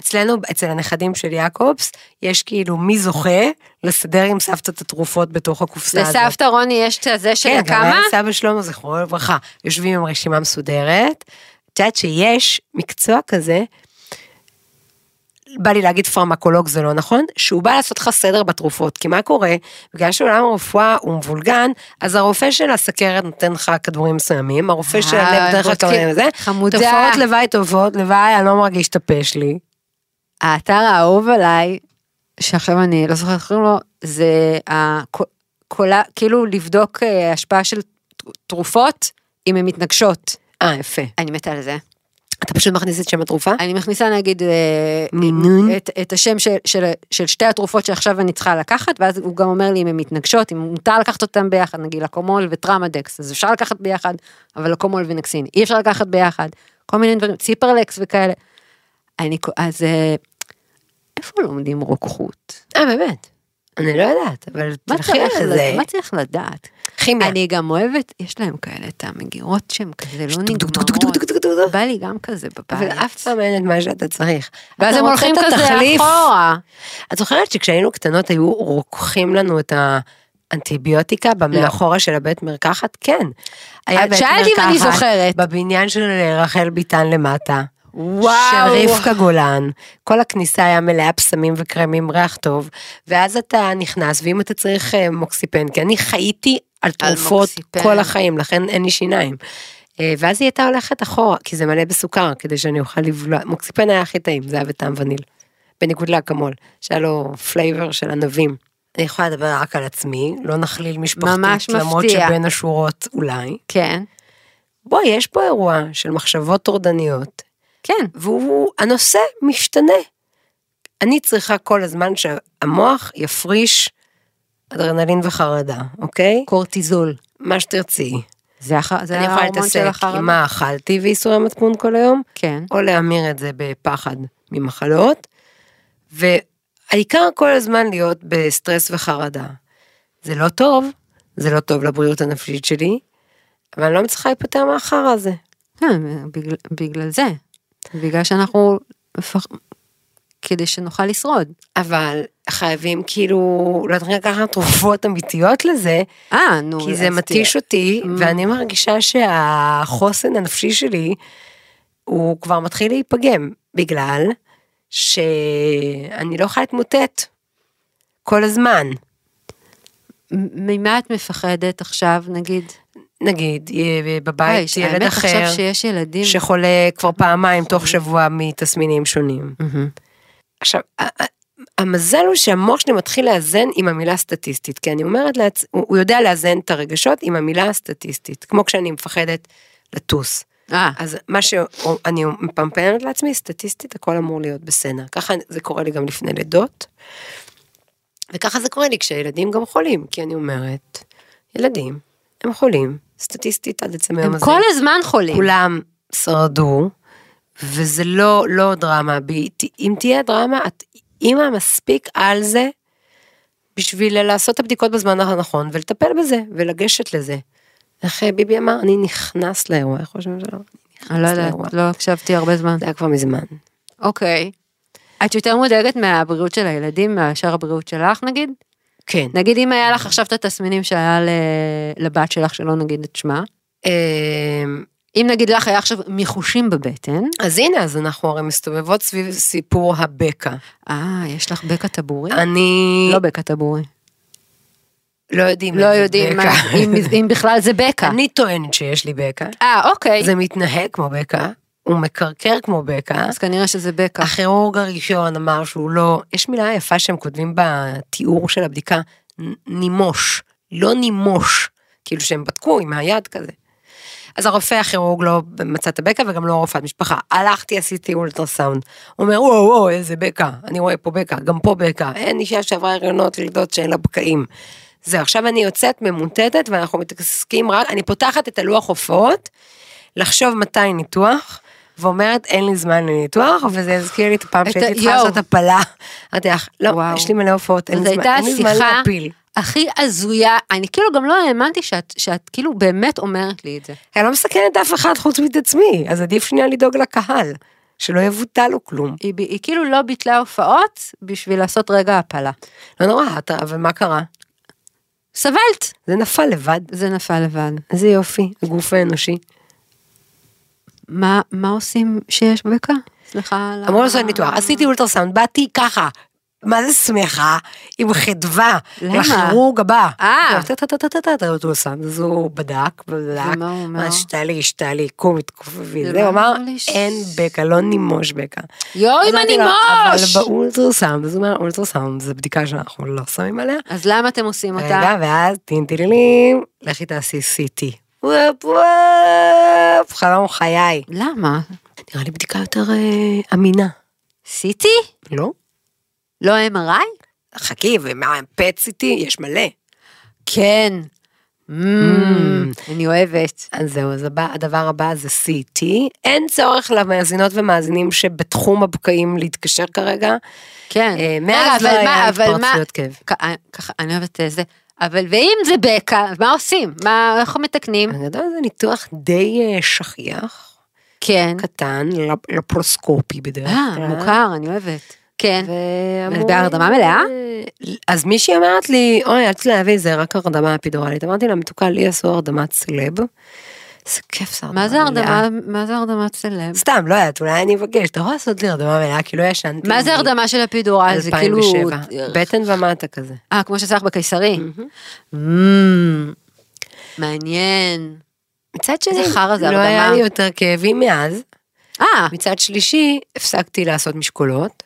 Speaker 3: אצלנו, אצל הנכדים של יעקובס, יש כאילו מי זוכה לסדר עם סבתא את התרופות בתוך הקופסה הזאת.
Speaker 4: לסבתא רוני יש את הזה של
Speaker 3: כן, גם היה
Speaker 4: כמה?
Speaker 3: לסבא שלמה, זכרו לברכה, יושבים עם רשימה מסודרת. את יודעת שיש מקצוע כזה, בא לי להגיד פרמקולוג זה לא נכון, שהוא בא לעשות לך סדר בתרופות, כי מה קורה? בגלל שעולם הרפואה הוא מבולגן, אז הרופא של הסכרת נותן לך כדורים מסוימים, הרופא של
Speaker 4: אה,
Speaker 3: הלב דרך
Speaker 4: בודקים.
Speaker 3: הכוונה וזה.
Speaker 4: חמודה.
Speaker 3: תופעות לוואי טובות, לוואי, אני לא מרגיש את הפה שלי.
Speaker 4: האתר האהוב עליי, שעכשיו אני לא זוכרת איך קוראים לו, זה הכ- כולה- כאילו לבדוק אה, השפעה של ת- תרופות, אם הן מתנגשות.
Speaker 3: אה, יפה.
Speaker 4: אני מתה על זה.
Speaker 3: אתה פשוט מכניס את שם התרופה?
Speaker 4: אני מכניסה נגיד אה,
Speaker 3: מינון.
Speaker 4: את, את השם של, של, של שתי התרופות שעכשיו אני צריכה לקחת, ואז הוא גם אומר לי אם הן מתנגשות, אם מותר לקחת אותן ביחד, נגיד לקומול וטרמדקס, אז אפשר לקחת ביחד, אבל לקומול ונקסין, אי אפשר לקחת ביחד, כל מיני דברים, ציפרלקס וכאלה. אני, כ- אז אה, איפה לומדים רוקחות?
Speaker 3: אה, באמת. אני לא יודעת, אבל
Speaker 4: מה
Speaker 3: תלכי
Speaker 4: צריך,
Speaker 3: על
Speaker 4: לד...
Speaker 3: זה.
Speaker 4: מה צריך לדעת?
Speaker 3: כימיה.
Speaker 4: אני גם אוהבת, יש להם כאלה את המגירות שהן כזה לא
Speaker 3: טוק, טוק, טוק, טוק, טוק,
Speaker 4: נגמרות.
Speaker 3: טוק, טוק.
Speaker 4: בא לי גם כזה
Speaker 3: אבל
Speaker 4: בבית.
Speaker 3: אף פעם אין את מה שאתה צריך.
Speaker 4: ואז
Speaker 3: אתה
Speaker 4: הם
Speaker 3: רוצה
Speaker 4: הולכים
Speaker 3: את
Speaker 4: כזה
Speaker 3: התחליף.
Speaker 4: אחורה.
Speaker 3: את זוכרת שכשהיינו קטנות היו רוקחים לנו את האנטיביוטיקה במאחורה של הבית מרקחת? כן. היה
Speaker 4: לא. את
Speaker 3: בית
Speaker 4: שאלת אם אני
Speaker 3: מרקחת
Speaker 4: זוכרת.
Speaker 3: בבניין של רחל ביטן למטה.
Speaker 4: וואו.
Speaker 3: של רבקה גולן, כל הכניסה היה מלאה פסמים וקרמים ריח טוב, ואז אתה נכנס, ואם אתה צריך אה, מוקסיפן, כי אני חייתי על תרופות
Speaker 4: מוקסיפן.
Speaker 3: כל החיים, לכן אין לי שיניים. אה, ואז היא הייתה הולכת אחורה, כי זה מלא בסוכר, כדי שאני אוכל לבלוע, מוקסיפן היה הכי טעים, זה היה בטעם וניל. בניגוד לאקמול, שהיה לו פלייבר של ענבים. אני יכולה לדבר רק על עצמי, לא נכליל
Speaker 4: ממש
Speaker 3: משפחתית, למרות
Speaker 4: מפתיע.
Speaker 3: שבין השורות אולי.
Speaker 4: כן.
Speaker 3: בואי, יש פה אירוע של מחשבות טורדניות,
Speaker 4: כן.
Speaker 3: והוא, הנושא משתנה. אני צריכה כל הזמן שהמוח יפריש אדרנלין וחרדה, אוקיי?
Speaker 4: קורטיזול.
Speaker 3: מה שתרצי.
Speaker 4: זה הח- זה
Speaker 3: אני יכולה
Speaker 4: ההורמון של
Speaker 3: להתעסק
Speaker 4: החרדה.
Speaker 3: עם מה אכלתי ואיסורי מצפון כל היום,
Speaker 4: כן.
Speaker 3: או להמיר את זה בפחד ממחלות, והעיקר כל הזמן להיות בסטרס וחרדה. זה לא טוב, זה לא טוב לבריאות הנפשית שלי, אבל אני לא מצליחה להיפטר מהחרא הזה.
Speaker 4: כן, בגלל, בגלל זה. בגלל שאנחנו, מפח- כדי שנוכל לשרוד.
Speaker 3: אבל חייבים כאילו להתחיל לקחת תרופות אמיתיות לזה,
Speaker 4: אה, נו.
Speaker 3: כי זה
Speaker 4: אז Mm.
Speaker 3: מתיש אותי, ואני מרגישה שהחוסן הנפשי שלי, הוא כבר מתחיל להיפגם, בגלל שאני לא יכולה להתמוטט כל הזמן.
Speaker 4: מ- ממה את מפחדת עכשיו, נגיד?
Speaker 3: נגיד, אה,
Speaker 4: היי,
Speaker 3: בבית ילד
Speaker 4: האמת עכשיו Mm.
Speaker 3: אחר,
Speaker 4: שיש ילדים.
Speaker 3: שחולה כבר פעמיים תוך שבוע מתסמינים שונים.
Speaker 4: מהמם.
Speaker 3: עכשיו, ה- ה- המזל הוא שהמוח שלי מתחיל לאזן עם המילה סטטיסטית, כי אני אומרת לעצמי, הוא הוא יודע לאזן את הרגשות עם המילה הסטטיסטית, כמו כשאני מפחדת לטוס.
Speaker 4: אה,
Speaker 3: אז מה שאני מפמפמת לעצמי, סטטיסטית הכל אמור להיות בסדר. ככה זה קורה לי גם לפני לידות, וככה זה קורה לי כשהילדים גם חולים, כי אני אומרת, ילדים, הם חולים, סטטיסטית עד עצם היום
Speaker 4: הם
Speaker 3: הזה.
Speaker 4: כל הזמן חולים.
Speaker 3: כולם שרדו, וזה לא, לא דרמה, בי- ת- אם תהיה דרמה, את אימא מספיק על זה בשביל לעשות את הבדיקות בזמן הנכון, ולטפל בזה, ולגשת לזה. איך אה, ביבי אמר, אני נכנס לאירוע, איך ראש הממשלה? אמר?
Speaker 4: אני לא יודעת, לא הקשבתי הרבה זמן.
Speaker 3: זה היה כבר מזמן.
Speaker 4: אוקיי. את יותר מודאגת מהבריאות של הילדים מאשר הבריאות שלך נגיד?
Speaker 3: כן.
Speaker 4: נגיד אם היה לך עכשיו את התסמינים שהיה ל- לבת שלך שלא נגיד את שמה,
Speaker 3: אמ,
Speaker 4: אם נגיד לך היה עכשיו מיחושים בבטן,
Speaker 3: אז הנה, אז אנחנו הרי מסתובבות סביב סיפור הבקע.
Speaker 4: אה, יש לך בקע טבורי?
Speaker 3: אני...
Speaker 4: לא בקע טבורי.
Speaker 3: לא יודעים.
Speaker 4: לא
Speaker 3: איזה
Speaker 4: יודעים
Speaker 3: בקע.
Speaker 4: מה- אם- אם בכלל זה בקע.
Speaker 3: אני טוענת שיש לי בקע.
Speaker 4: אה, אוקיי.
Speaker 3: זה מתנהג כמו בקע, הוא מקרקר כמו בקע.
Speaker 4: אז כנראה שזה בקע.
Speaker 3: הכירורג הראשון אמר שהוא לא... יש מילה יפה שהם כותבים בתיאור של הבדיקה, נ- נימוש. לא נימוש. כאילו שהם בדקו עם היד כזה. אז הרופא הכירורג לא מצא את הבקע וגם לא רופאת משפחה. הלכתי, עשיתי אולטרסאונד. הוא אומר, וואו, וואו, איזה בקע. אני רואה פה בקע, גם פה בקע. אין אישה שעברה הריונות לילדות שאין לה בקעים. זהו, עכשיו אני יוצאת ממוטטת ואנחנו מתעסקים רק, אני פותחת את הלוח הופעות, לחשוב מתי ניתוח. ואומרת אין לי זמן לניתוח וזה הזכיר לי את הפעם
Speaker 4: את
Speaker 3: שהייתי
Speaker 4: ה-
Speaker 3: צריכה
Speaker 4: יואו.
Speaker 3: לעשות הפלה. אמרתי לך לא
Speaker 4: וואו.
Speaker 3: יש לי מלא הופעות אין
Speaker 4: זאת
Speaker 3: לי זמן
Speaker 4: הייתה
Speaker 3: אין לי זמן
Speaker 4: השיחה
Speaker 3: להפיל.
Speaker 4: הכי הזויה, אני כאילו גם לא האמנתי שאת, שאת כאילו באמת אומרת לי את זה.
Speaker 3: אני לא מסכנת אף אחד חוץ מאת עצמי אז עדיף שנייה לדאוג לקהל שלא יבוטל לו כלום.
Speaker 4: היא, ב- היא כאילו לא ביטלה הופעות בשביל לעשות רגע הפלה.
Speaker 3: לא נורא אתה אבל מה קרה?
Speaker 4: סבלת.
Speaker 3: זה נפל לבד.
Speaker 4: זה נפל לבד.
Speaker 3: איזה יופי הגוף האנושי.
Speaker 4: מה, מה עושים שיש בקע? סליחה על ה...
Speaker 3: אמרו לו לעשות ניתוח, עשיתי אולטרסאונד, באתי ככה, מה זה שמחה, עם חדווה,
Speaker 4: למה?
Speaker 3: לכירורג הבא.
Speaker 4: אה.
Speaker 3: טה-טה-טה-טה-טה, אולטרסאונד, אז הוא בדק, בדק,
Speaker 4: ומה הוא אמר?
Speaker 3: מה שתעלי, שתעלי, קומי, תכופפי,
Speaker 4: זה
Speaker 3: זה הוא
Speaker 4: לא
Speaker 3: אמר,
Speaker 4: אמר לי ש-
Speaker 3: אין בקע, לא נימוש בקע.
Speaker 4: יואו,
Speaker 3: אז
Speaker 4: עם
Speaker 3: אמרתי לו,
Speaker 4: הנימוש!
Speaker 3: אבל באולטרסאונד, אז הוא אומר, אולטרסאונד זה בדיקה שאנחנו לא שמים עליה.
Speaker 4: אז למה אתם עושים אותה?
Speaker 3: רגע, ואז טינטילילים, לכי תעשי CT. וופ וופ, חלום חיי.
Speaker 4: למה?
Speaker 3: נראה לי בדיקה יותר אה, אמינה.
Speaker 4: סיטי?
Speaker 3: לא?
Speaker 4: לא MRI?
Speaker 3: חכי, ומה, פט סיטי? יש מלא.
Speaker 4: כן. מ, אני אוהבת.
Speaker 3: אז זהו, אז הבא, הדבר הבא זה CT. אין צורך למאזינות ומאזינים שבתחום הבקעים להתקשר כרגע.
Speaker 4: כן.
Speaker 3: אה, מאז
Speaker 4: רגע,
Speaker 3: לא
Speaker 4: אבל
Speaker 3: היה
Speaker 4: מה- אבל מה-
Speaker 3: התפרצויות כאב.
Speaker 4: כ- ככה, אני אוהבת אה, זה. אבל ואם זה בקע, מה עושים? מה, איך מתקנים?
Speaker 3: הגדול זה ניתוח די אה, שכיח,
Speaker 4: כן.
Speaker 3: קטן, לפ- לפרוסקופי בדרך
Speaker 4: אה, מוכר, אני אוהבת. כן.
Speaker 3: ואמרו
Speaker 4: בהרדמה
Speaker 3: לי,
Speaker 4: מלאה?
Speaker 3: אה, אז מישהי אמרת לי, אוי, אל תלהבי, זה רק הרדמה אפידורלית. אמרתי לה, מתוקה, לי עשו הרדמת סלב. איזה כיף זה הרדמה
Speaker 4: מה זה
Speaker 3: מלאה.
Speaker 4: הרדמה, מה זה הרדמת סלב?
Speaker 3: סתם, לא יודעת, אולי אני אבקש, אתה יכול לעשות לי הרדמה מלאה, כי לא ישנתי.
Speaker 4: מה זה
Speaker 3: מ-
Speaker 4: הרדמה של אפידורל? זה כאילו...
Speaker 3: 2007. בטן ומטה כזה.
Speaker 4: אה, כמו שצריך בקיסרי. Mm, מעניין.
Speaker 3: מצד שני,
Speaker 4: איזה חרא זה
Speaker 3: לא
Speaker 4: הרדמה.
Speaker 3: היה לי יותר כאבים מאז.
Speaker 4: אה,
Speaker 3: מצד שלישי, הפסקתי לעשות משקולות,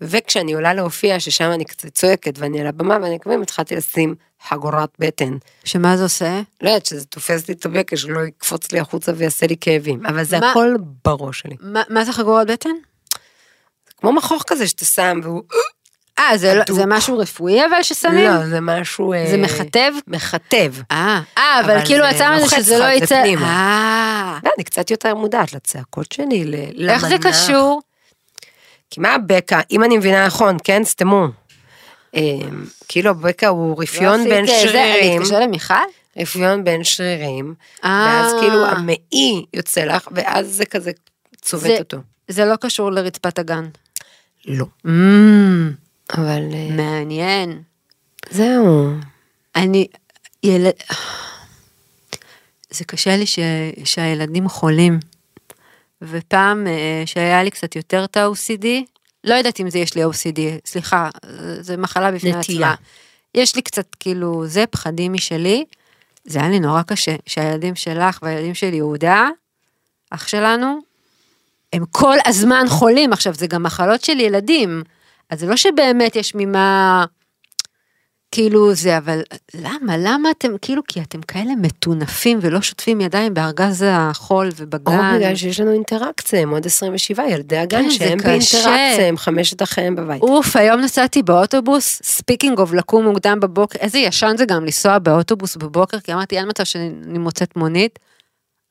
Speaker 3: וכשאני עולה להופיע, ששם אני קצת צועקת ואני על הבמה ואני קווים, התחלתי לשים חגורת בטן.
Speaker 4: שמה זה עושה?
Speaker 3: לא יודעת שזה תופס לי את הבקע, שלא יקפוץ לי החוצה ויעשה לי כאבים, אבל זה
Speaker 4: מה-
Speaker 3: הכל בראש שלי.
Speaker 4: מה מה זה חגורת בטן?
Speaker 3: זה כמו מכוך כזה שאתה שם והוא...
Speaker 4: אה, זה, לא,
Speaker 3: הדוק.
Speaker 4: זה משהו רפואי אבל ששמים?
Speaker 3: לא, זה משהו... אה,
Speaker 4: זה מכתב?
Speaker 3: מכתב.
Speaker 4: אה, אה, אבל,
Speaker 3: אבל
Speaker 4: כאילו
Speaker 3: זה
Speaker 4: עצם הזה
Speaker 3: לוחץ
Speaker 4: שזה
Speaker 3: לך,
Speaker 4: לא
Speaker 3: זה
Speaker 4: יצא...
Speaker 3: פנימה.
Speaker 4: אה,
Speaker 3: לא, אני קצת יותר מודעת לצעקות שלי, ל- למנה.
Speaker 4: איך זה קשור?
Speaker 3: כי מה הבקע, אם אני מבינה נכון, כן, סתמו. אה, כאילו הבקע הוא רפיון
Speaker 4: לא
Speaker 3: בין
Speaker 4: עשית זה, אני
Speaker 3: שרירים,
Speaker 4: אתקשר למיכל?
Speaker 3: רפיון בין שרירים,
Speaker 4: אה.
Speaker 3: ואז כאילו המעי יוצא לך, ואז זה כזה צובט
Speaker 4: זה-
Speaker 3: אותו.
Speaker 4: זה לא קשור לרצפת הגן.
Speaker 3: לא. אבל אה,
Speaker 4: מעניין.
Speaker 3: זהו.
Speaker 4: אני... ילד... זה קשה לי ש... שהילדים חולים. ופעם אה, שהיה לי קצת יותר את ה-OCD, לא יודעת אם זה יש לי OCD, סליחה, אה, זה מחלה בפני
Speaker 3: נטייה.
Speaker 4: עצמה. יש לי קצת כאילו, זה פחדים משלי, זה היה לי נורא קשה, שהילדים שלך והילדים של יהודה, אח שלנו, הם כל הזמן חולים. עכשיו, זה גם מחלות של ילדים, אז זה לא שבאמת יש ממה... כאילו זה, אבל למה, למה אתם, כאילו, כי אתם כאלה מטונפים ולא שוטפים ידיים בארגז החול
Speaker 3: או
Speaker 4: ובגן.
Speaker 3: בגלל שיש לנו אינטראקציה עם עוד 27 ילדי הגן
Speaker 4: כן, זה
Speaker 3: שהם
Speaker 4: קשה.
Speaker 3: באינטראקציה עם חמשת אחיהם בבית.
Speaker 4: אוף, היום נסעתי באוטובוס, ספיקינג אוף לקום מוקדם בבוקר, איזה ישן זה גם לנסוע באוטובוס בבוקר, כי אמרתי, אין מצב שאני מוצאת מונית.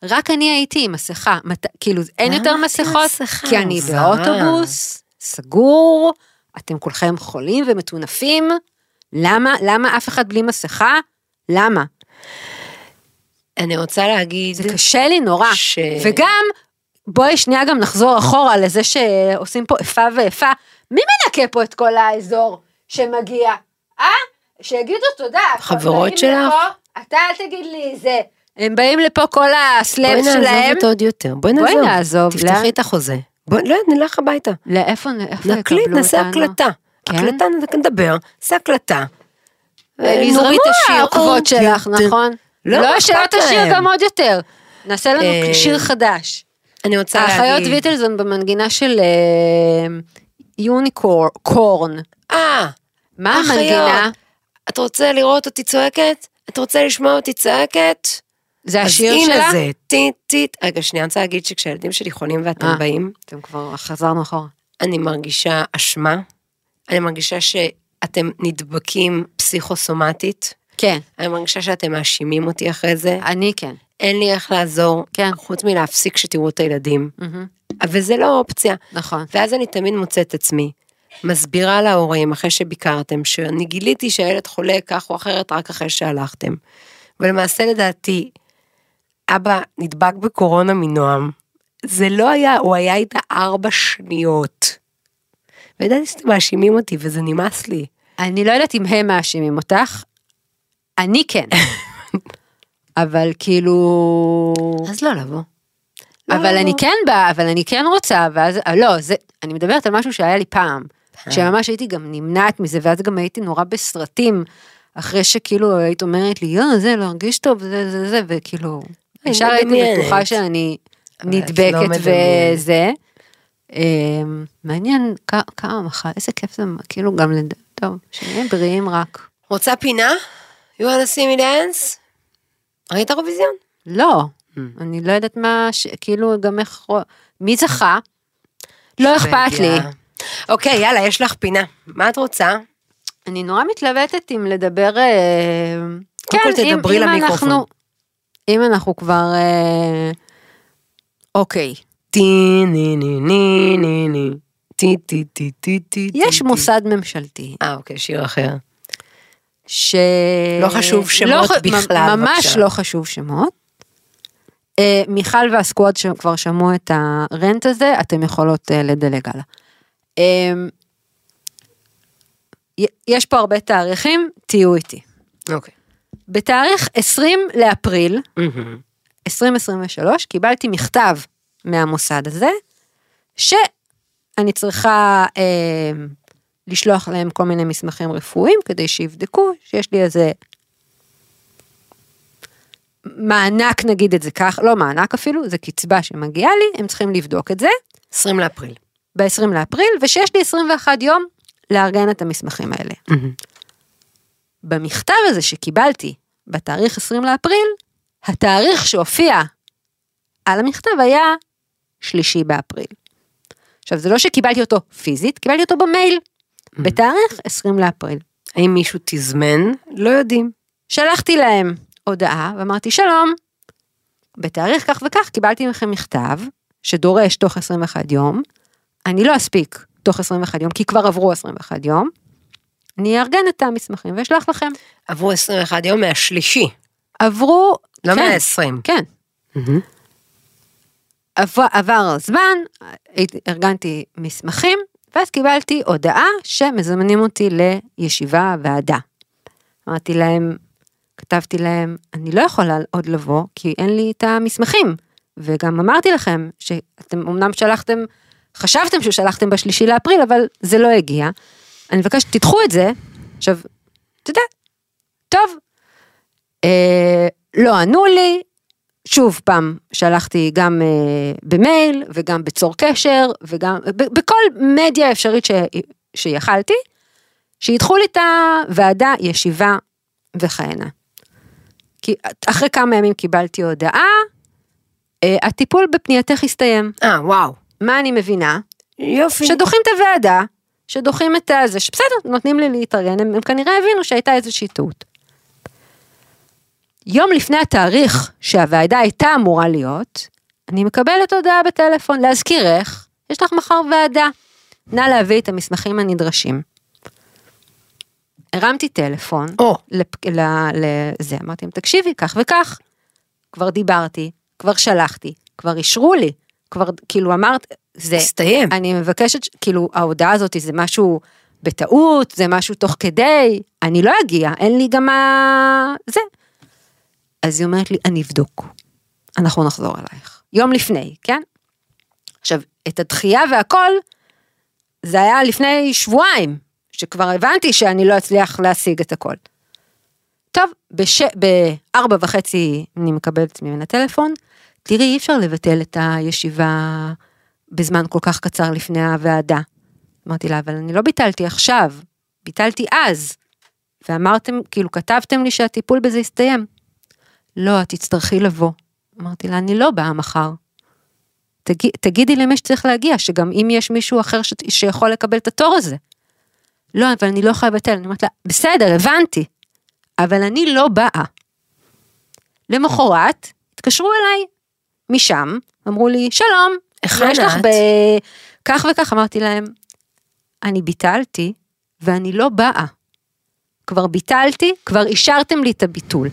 Speaker 4: רק אני הייתי עם מסכה, מת... כאילו אין
Speaker 3: למה
Speaker 4: יותר
Speaker 3: את אה, עם
Speaker 4: מסכות,
Speaker 3: מסכה?
Speaker 4: כי אני
Speaker 3: מוזרה.
Speaker 4: באוטובוס, סגור, אתם כולכם חולים ומטונפים, למה, למה אף אחד בלי מסכה? למה?
Speaker 3: אני רוצה להגיד...
Speaker 4: זה קשה לי נורא.
Speaker 3: ש-
Speaker 4: וגם, בואי שנייה גם נחזור אחורה לזה שעושים פה איפה ואיפה. מי מנקה פה את כל האזור שמגיע? אה? שיגידו תודה.
Speaker 3: חברות
Speaker 4: באים
Speaker 3: שלך?
Speaker 4: לפה, אתה אל תגיד לי זה. הם באים לפה כל הסלאב
Speaker 3: בואי
Speaker 4: שלהם.
Speaker 3: נעזוב אותו עוד יותר. בואי נעזוב.
Speaker 4: בואי נעזוב, לאן?
Speaker 3: תפתחי את החוזה. בואי, לא, נלך הביתה.
Speaker 4: לאיפה איפה
Speaker 3: נקליט,
Speaker 4: יקבלו
Speaker 3: נעשה
Speaker 4: אותנו?
Speaker 3: הקלטה.
Speaker 4: כן?
Speaker 3: הקלטה, נ- נדבר, נעשה הקלטה. אה,
Speaker 4: יזרמו
Speaker 3: נוריד את השיר
Speaker 4: העוקבות
Speaker 3: עוד
Speaker 4: שלך,
Speaker 3: יותר.
Speaker 4: נכון?
Speaker 3: לא, מה
Speaker 4: לא,
Speaker 3: אכפת
Speaker 4: שלא תשאיר
Speaker 3: להם?
Speaker 4: גם עוד יותר. נעשה
Speaker 3: אה,
Speaker 4: לנו שיר חדש.
Speaker 3: אני רוצה להגיד...
Speaker 4: האחיות ויטלזון במנגינה של אה, יוניקורן.
Speaker 3: אה,
Speaker 4: מה
Speaker 3: אחיות.
Speaker 4: המנגינה?
Speaker 3: את רוצה לראות אותי צועקת? את רוצה לשמוע אותי צועקת?
Speaker 4: זה
Speaker 3: אז
Speaker 4: השיר
Speaker 3: הנה
Speaker 4: שלה?
Speaker 3: זה, טיט טיט. רגע, שנייה, אני רוצה להגיד שכשהילדים שלי חולים ואתם
Speaker 4: אה.
Speaker 3: באים,
Speaker 4: אתם כבר חזרנו אחורה.
Speaker 3: אני מרגישה אשמה. אני מרגישה שאתם נדבקים פסיכוסומטית.
Speaker 4: כן,
Speaker 3: אני מרגישה שאתם מאשימים אותי אחרי זה.
Speaker 4: אני כן.
Speaker 3: אין לי איך לעזור,
Speaker 4: כן.
Speaker 3: חוץ מלהפסיק שתראו את הילדים.
Speaker 4: מהמם,
Speaker 3: וזה לא אופציה.
Speaker 4: נכון.
Speaker 3: ואז אני תמיד מוצאת את עצמי, מסבירה להורים אחרי שביקרתם, שאני גיליתי שהילד חולה כך או אחרת רק אחרי שהלכתם. ולמעשה לדעתי, אבא נדבק בקורונה מנועם. זה לא היה, הוא היה איתה ארבע שניות. וידעתי שאתם מאשימים אותי וזה נמאס לי.
Speaker 4: אני לא יודעת אם הם מאשימים אותך, אני כן. אבל כאילו...
Speaker 3: אז לא לבוא. לא,
Speaker 4: אבל
Speaker 3: לא.
Speaker 4: אני כן באה, אבל אני כן רוצה, ואז... אה, לא, זה... אני מדברת על משהו שהיה לי פעם. שממש הייתי גם נמנעת מזה, ואז גם הייתי נורא בסרטים, אחרי שכאילו היית אומרת לי, יואו, זה לא הרגיש טוב, זה זה זה, וכאילו,
Speaker 3: אני
Speaker 4: ישר הייתי
Speaker 3: מדמיינת.
Speaker 4: בטוחה שאני
Speaker 3: אבל את לא
Speaker 4: נדבקת
Speaker 3: מדמיינת.
Speaker 4: וזה. אמ, מעניין כ- כמה מחר, איזה כיף זה, כאילו גם לד... טוב, שנהיה בריאים רק.
Speaker 3: רוצה פינה? You wanna see me dance? ראית אירוויזיון?
Speaker 4: לא,
Speaker 3: Mm.
Speaker 4: אני לא יודעת מה, ש... כאילו גם איך, רוא- מי זכה? לא אכפת לי.
Speaker 3: רגע. אוקיי, יאללה, יש לך פינה. מה את רוצה?
Speaker 4: אני נורא מתלבטת אם לדבר... אה,
Speaker 3: קודם כל
Speaker 4: אם-
Speaker 3: תדברי
Speaker 4: אם
Speaker 3: למיקרופון.
Speaker 4: אנחנו- אם אנחנו כבר... אה, אוקיי.
Speaker 3: טי ני ני ני ני ני טי טי טי טי טי טי,
Speaker 4: יש
Speaker 3: טי.
Speaker 4: מוסד ממשלתי
Speaker 3: אה אוקיי שיר אחר.
Speaker 4: ש...
Speaker 3: לא חשוב שמות
Speaker 4: לא ח-
Speaker 3: בכלל,
Speaker 4: מ- ממש
Speaker 3: בבקשה.
Speaker 4: לא חשוב שמות. אה, מיכל והסקוואד שכבר שמעו את הרנט הזה, אתם יכולות אה, לדלג הלאה. אה, י- יש פה הרבה תאריכים, תהיו איתי.
Speaker 3: אוקיי.
Speaker 4: בתאריך 20 לאפריל, 2023 קיבלתי מכתב מהמוסד הזה, שאני צריכה אה, לשלוח להם כל מיני מסמכים רפואיים כדי שיבדקו שיש לי איזה מענק, נגיד את זה כך, לא מענק אפילו, זה קצבה שמגיעה לי, הם צריכים לבדוק את זה
Speaker 3: 20 לאפריל.
Speaker 4: ב-20 לאפריל, ושיש לי 21 יום לארגן את המסמכים האלה. במכתב הזה שקיבלתי בתאריך 20 לאפריל, התאריך שהופיע על המכתב היה שלישי באפריל. עכשיו, זה לא שקיבלתי אותו פיזית, קיבלתי אותו במייל.
Speaker 3: Mm-hmm.
Speaker 4: בתאריך 20 לאפריל.
Speaker 3: האם מישהו תזמן? לא יודעים.
Speaker 4: שלחתי להם הודעה ואמרתי שלום, בתאריך כך וכך קיבלתי מכם מכתב שדורש תוך 21 יום, אני לא אספיק תוך 21 יום כי כבר עברו 21 יום, אני אארגן את המסמכים ואשלח לכם.
Speaker 3: עברו 21 יום מהשלישי,
Speaker 4: עברו,
Speaker 3: לא
Speaker 4: כן,
Speaker 3: מה-20.
Speaker 4: כן, עבר, עבר הזמן, הת- ארגנתי מסמכים, ואז קיבלתי הודעה שמזמנים אותי לישיבה ועדה. אמרתי להם, כתבתי להם, אני לא יכולה עוד לבוא, כי אין לי את המסמכים. וגם אמרתי לכם, שאתם אמנם שלחתם, חשבתם ששלחתם בשלישי לאפריל, אבל זה לא הגיע. אני מבקשת שתדחו את זה. עכשיו, אתה יודע, טוב. אה, לא ענו לי, שוב פעם, שלחתי גם אה, במייל וגם בצור קשר וגם ב- בכל מדיה אפשרית ש, שיכלתי, שידחו לי את הוועדה, ישיבה וכהנה. כי אחרי כמה ימים קיבלתי הודעה, אה, הטיפול בפנייתך הסתיים.
Speaker 3: אה, וואו.
Speaker 4: מה אני מבינה?
Speaker 3: יופי.
Speaker 4: שדוחים את הוועדה, שדוחים את הזה, שבסדר, נותנים לי להתארגן, הם, הם כנראה הבינו שהייתה איזושהי טעות. יום לפני התאריך שהוועדה הייתה אמורה להיות, אני מקבלת הודעה בטלפון, להזכירך, יש לך מחר ועדה, נא להביא את המסמכים הנדרשים. הרמתי טלפון,
Speaker 3: או.
Speaker 4: לפ- ל- לזה, אמרתי להם, תקשיבי, כך וכך, כבר דיברתי, כבר שלחתי, כבר אישרו לי, כבר, כאילו אמרת, זה,
Speaker 3: הסתיים.
Speaker 4: אני מבקשת, ש- כאילו, ההודעה הזאת זה משהו בטעות, זה משהו תוך כדי, אני לא אגיע, אין לי גם מה... זה. אז היא אומרת לי, אני אבדוק, אנחנו נחזור אלייך. יום לפני, כן? עכשיו, את הדחייה והכל, זה היה לפני שבועיים, שכבר הבנתי שאני לא אצליח להשיג את הכל. טוב, בש... בארבע וחצי אני מקבלת ממנה טלפון, תראי, אי אפשר לבטל את הישיבה בזמן כל כך קצר לפני הוועדה. אמרתי לה, אבל אני לא ביטלתי עכשיו, ביטלתי אז. ואמרתם, כאילו כתבתם לי שהטיפול בזה הסתיים. לא, את תצטרכי לבוא. אמרתי לה, אני לא באה מחר. תגיד, תגידי למי שצריך להגיע, שגם אם יש מישהו אחר ש, שיכול לקבל את התור הזה. לא, אבל אני לא יכולה לבטל. אני אומרת לה, בסדר, הבנתי, אבל אני לא באה. למחרת, התקשרו אליי משם, אמרו לי, שלום,
Speaker 3: היכן
Speaker 4: יש לך
Speaker 3: את?"
Speaker 4: ב... כך וכך, אמרתי להם, אני ביטלתי, ואני לא באה. כבר ביטלתי, כבר אישרתם לי את הביטול.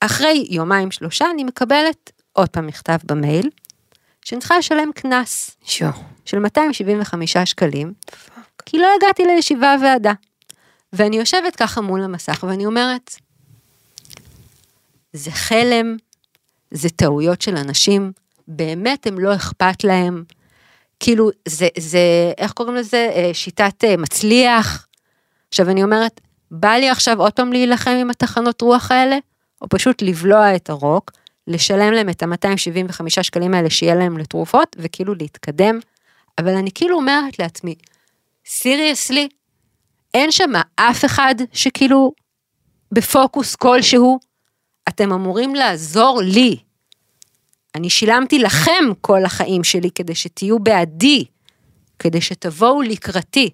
Speaker 4: אחרי יומיים שלושה אני מקבלת עוד פעם מכתב במייל, שאני צריכה לשלם קנס
Speaker 3: שו.
Speaker 4: של 275 שקלים, כי לא הגעתי לישיבה הוועדה. ואני יושבת ככה מול המסך ואני אומרת, זה חלם, זה טעויות של אנשים, באמת הם לא אכפת להם. כאילו, זה, זה איך קוראים לזה? אה, שיטת אה, מצליח. עכשיו אני אומרת, בא לי עכשיו עוד פעם להילחם עם התחנות רוח האלה, או פשוט לבלוע את הרוק, לשלם להם את ה-275 שקלים האלה שיהיה להם לתרופות, וכאילו להתקדם. אבל אני כאילו אומרת לעצמי, סיריוסלי, אין שם אף אחד שכאילו בפוקוס כלשהו, אתם אמורים לעזור לי. אני שילמתי לכם כל החיים שלי כדי שתהיו בעדי, כדי שתבואו לקראתי.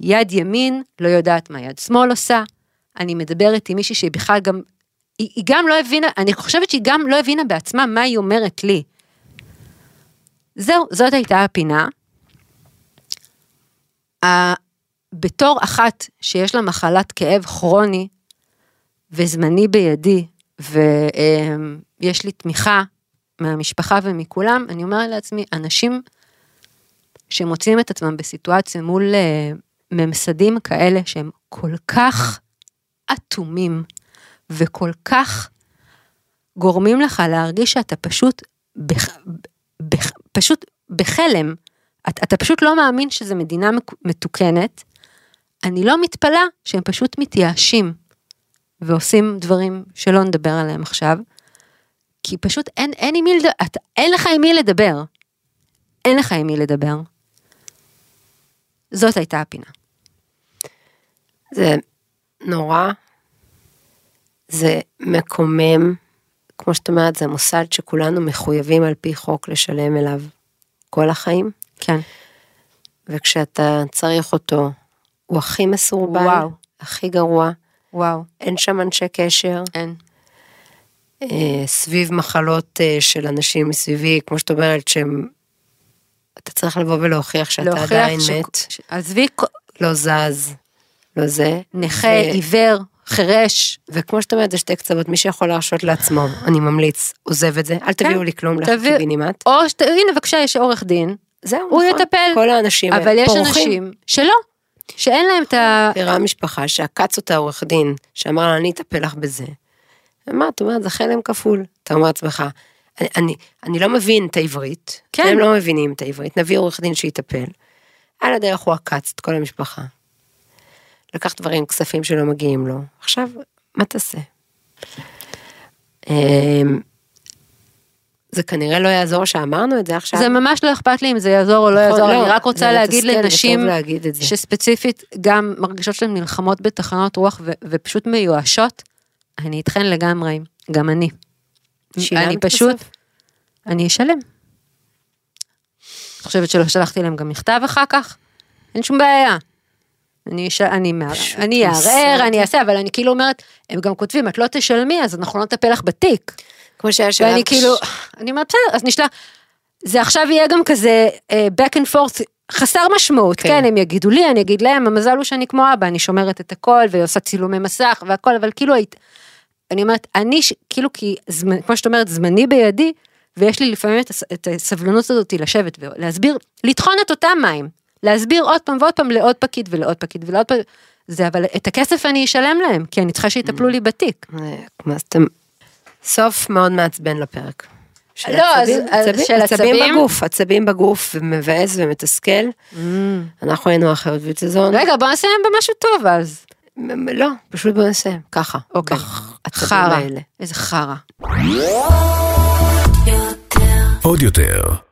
Speaker 4: יד ימין לא יודעת מה יד שמאל עושה. אני מדברת עם מישהי שהיא בכלל גם, היא, היא גם לא הבינה, אני חושבת שהיא גם לא הבינה בעצמה מה היא אומרת לי. זהו, זאת הייתה הפינה. ה- בתור אחת שיש לה מחלת כאב כרוני, וזמני בידי, ויש לי תמיכה מהמשפחה ומכולם, אני אומרת לעצמי, אנשים שמוצאים את עצמם בסיטואציה מול אה, ממסדים כאלה שהם כל כך אטומים, וכל כך גורמים לך להרגיש שאתה פשוט, בח, בח, פשוט בחלם. אתה, אתה פשוט לא מאמין שזו מדינה מק- מתוקנת. אני לא מתפלא שהם פשוט מתייאשים ועושים דברים שלא נדבר עליהם עכשיו, כי פשוט אין, אין, עם מי לד... אתה, אין לך עם מי לדבר. אין לך עם מי לדבר. זאת הייתה הפינה.
Speaker 3: זה נורא, זה מקומם, כמו שאת אומרת, זה מוסד שכולנו מחויבים על פי חוק לשלם אליו כל החיים,
Speaker 4: כן.
Speaker 3: וכשאתה צריך אותו, הוא הכי מסורבל,
Speaker 4: וואו.
Speaker 3: הכי גרוע,
Speaker 4: וואו,
Speaker 3: אין שם אנשי קשר.
Speaker 4: אין.
Speaker 3: אה, סביב מחלות אה, של אנשים מסביבי, כמו שאת אומרת, שהם... אתה צריך לבוא ולהוכיח שאתה
Speaker 4: להוכיח
Speaker 3: עדיין
Speaker 4: ש-
Speaker 3: מת,
Speaker 4: ש- עזבי, כל-
Speaker 3: לא זז, לא זה.
Speaker 4: נכה,
Speaker 3: ו-
Speaker 4: עיוור, חירש.
Speaker 3: וכמו שאת אומרת, זה שתי קצוות, מי שיכול להרשות לעצמו, אני ממליץ, עוזב את זה, אל תביאו לי כלום, לכי
Speaker 4: כן. תביאו-
Speaker 3: קיבינימט.
Speaker 4: או, שת- הנה בבקשה, יש עורך דין,
Speaker 3: זהו,
Speaker 4: הוא
Speaker 3: נכון.
Speaker 4: יטפל.
Speaker 3: כל האנשים
Speaker 4: אבל יש
Speaker 3: פורחים.
Speaker 4: אנשים שלא, שאין להם את ה...
Speaker 3: מכירה משפחה שעקץ אותה עורך דין, שאמר לה, אני אטפל לך בזה. אמרת, את אומרת, זה חלם כפול. אתה אומר לעצמך, אני, אני, אני לא מבין את העברית,
Speaker 4: כן.
Speaker 3: הם לא מבינים את העברית, נביא עורך דין שיטפל. על הדרך הוא עקץ את כל המשפחה. לקח דברים, כספים שלא מגיעים לו. עכשיו, מה תעשה? אמ, זה כנראה לא יעזור שאמרנו את זה עכשיו.
Speaker 4: זה ממש לא אכפת לי אם זה יעזור או לא
Speaker 3: נכון,
Speaker 4: יעזור,
Speaker 3: לא,
Speaker 4: אני רק
Speaker 3: זה
Speaker 4: רוצה להגיד
Speaker 3: מתסכל, זה טוב
Speaker 4: לנשים
Speaker 3: להגיד את זה.
Speaker 4: שספציפית גם מרגישות שהן נלחמות בתחנות רוח ו- ופשוט מיואשות, אני איתכן לגמרי, גם אני.
Speaker 3: שילמת
Speaker 4: אני פשוט,
Speaker 3: בסוף?
Speaker 4: אני אשלם. את חושבת שלא שלחתי להם גם מכתב אחר כך? אין שום בעיה. אני אש- אני מערער,
Speaker 3: פשוט
Speaker 4: אני אערער,
Speaker 3: מסרת.
Speaker 4: אני אעשה, אבל אני כאילו אומרת, הם גם כותבים, את לא תשלמי, אז אנחנו לא נטפל לך בתיק.
Speaker 3: כמו שהיה שלב...
Speaker 4: ואני כאילו,
Speaker 3: ש-
Speaker 4: אני אומרת, בסדר, אז נשלח. זה עכשיו יהיה גם כזה אה, back and forth חסר משמעות,
Speaker 3: כן.
Speaker 4: כן, הם יגידו לי, אני אגיד להם, המזל הוא שאני כמו אבא, אני שומרת את הכל ועושה צילומי מסך והכל, אבל כאילו היית, אני אומרת, אני ש- כאילו, כי זמנ, כמו שאת אומרת, זמני בידי, ויש לי לפעמים את, הס- את הסבלנות הזאת לשבת ולהסביר, לטחון את אותם מים, להסביר עוד פעם ועוד פעם לעוד פקיד ולעוד פקיד ולעוד פקיד, זה אבל את הכסף אני אשלם להם, כי אני צריכה שיטפלו לי בתיק.
Speaker 3: אה, כמו שאתם... סוף מאוד מעצבן לפרק. של
Speaker 4: לא, אז-
Speaker 3: עצבים,
Speaker 4: אז
Speaker 3: עצבים,
Speaker 4: של
Speaker 3: עצבים
Speaker 4: עצבים? Mm.
Speaker 3: בגוף, עצבים בגוף, ומבאס ומתסכל. אנחנו היינו אחיות ויצזון.
Speaker 4: רגע, בוא נסיים במשהו טוב אז.
Speaker 3: מ- מ- לא, פשוט בוא נסיים, ככה.
Speaker 4: אוקיי.
Speaker 3: בעצבים
Speaker 4: חרא.
Speaker 3: האלה.
Speaker 4: איזה חרא.
Speaker 1: עוד יותר,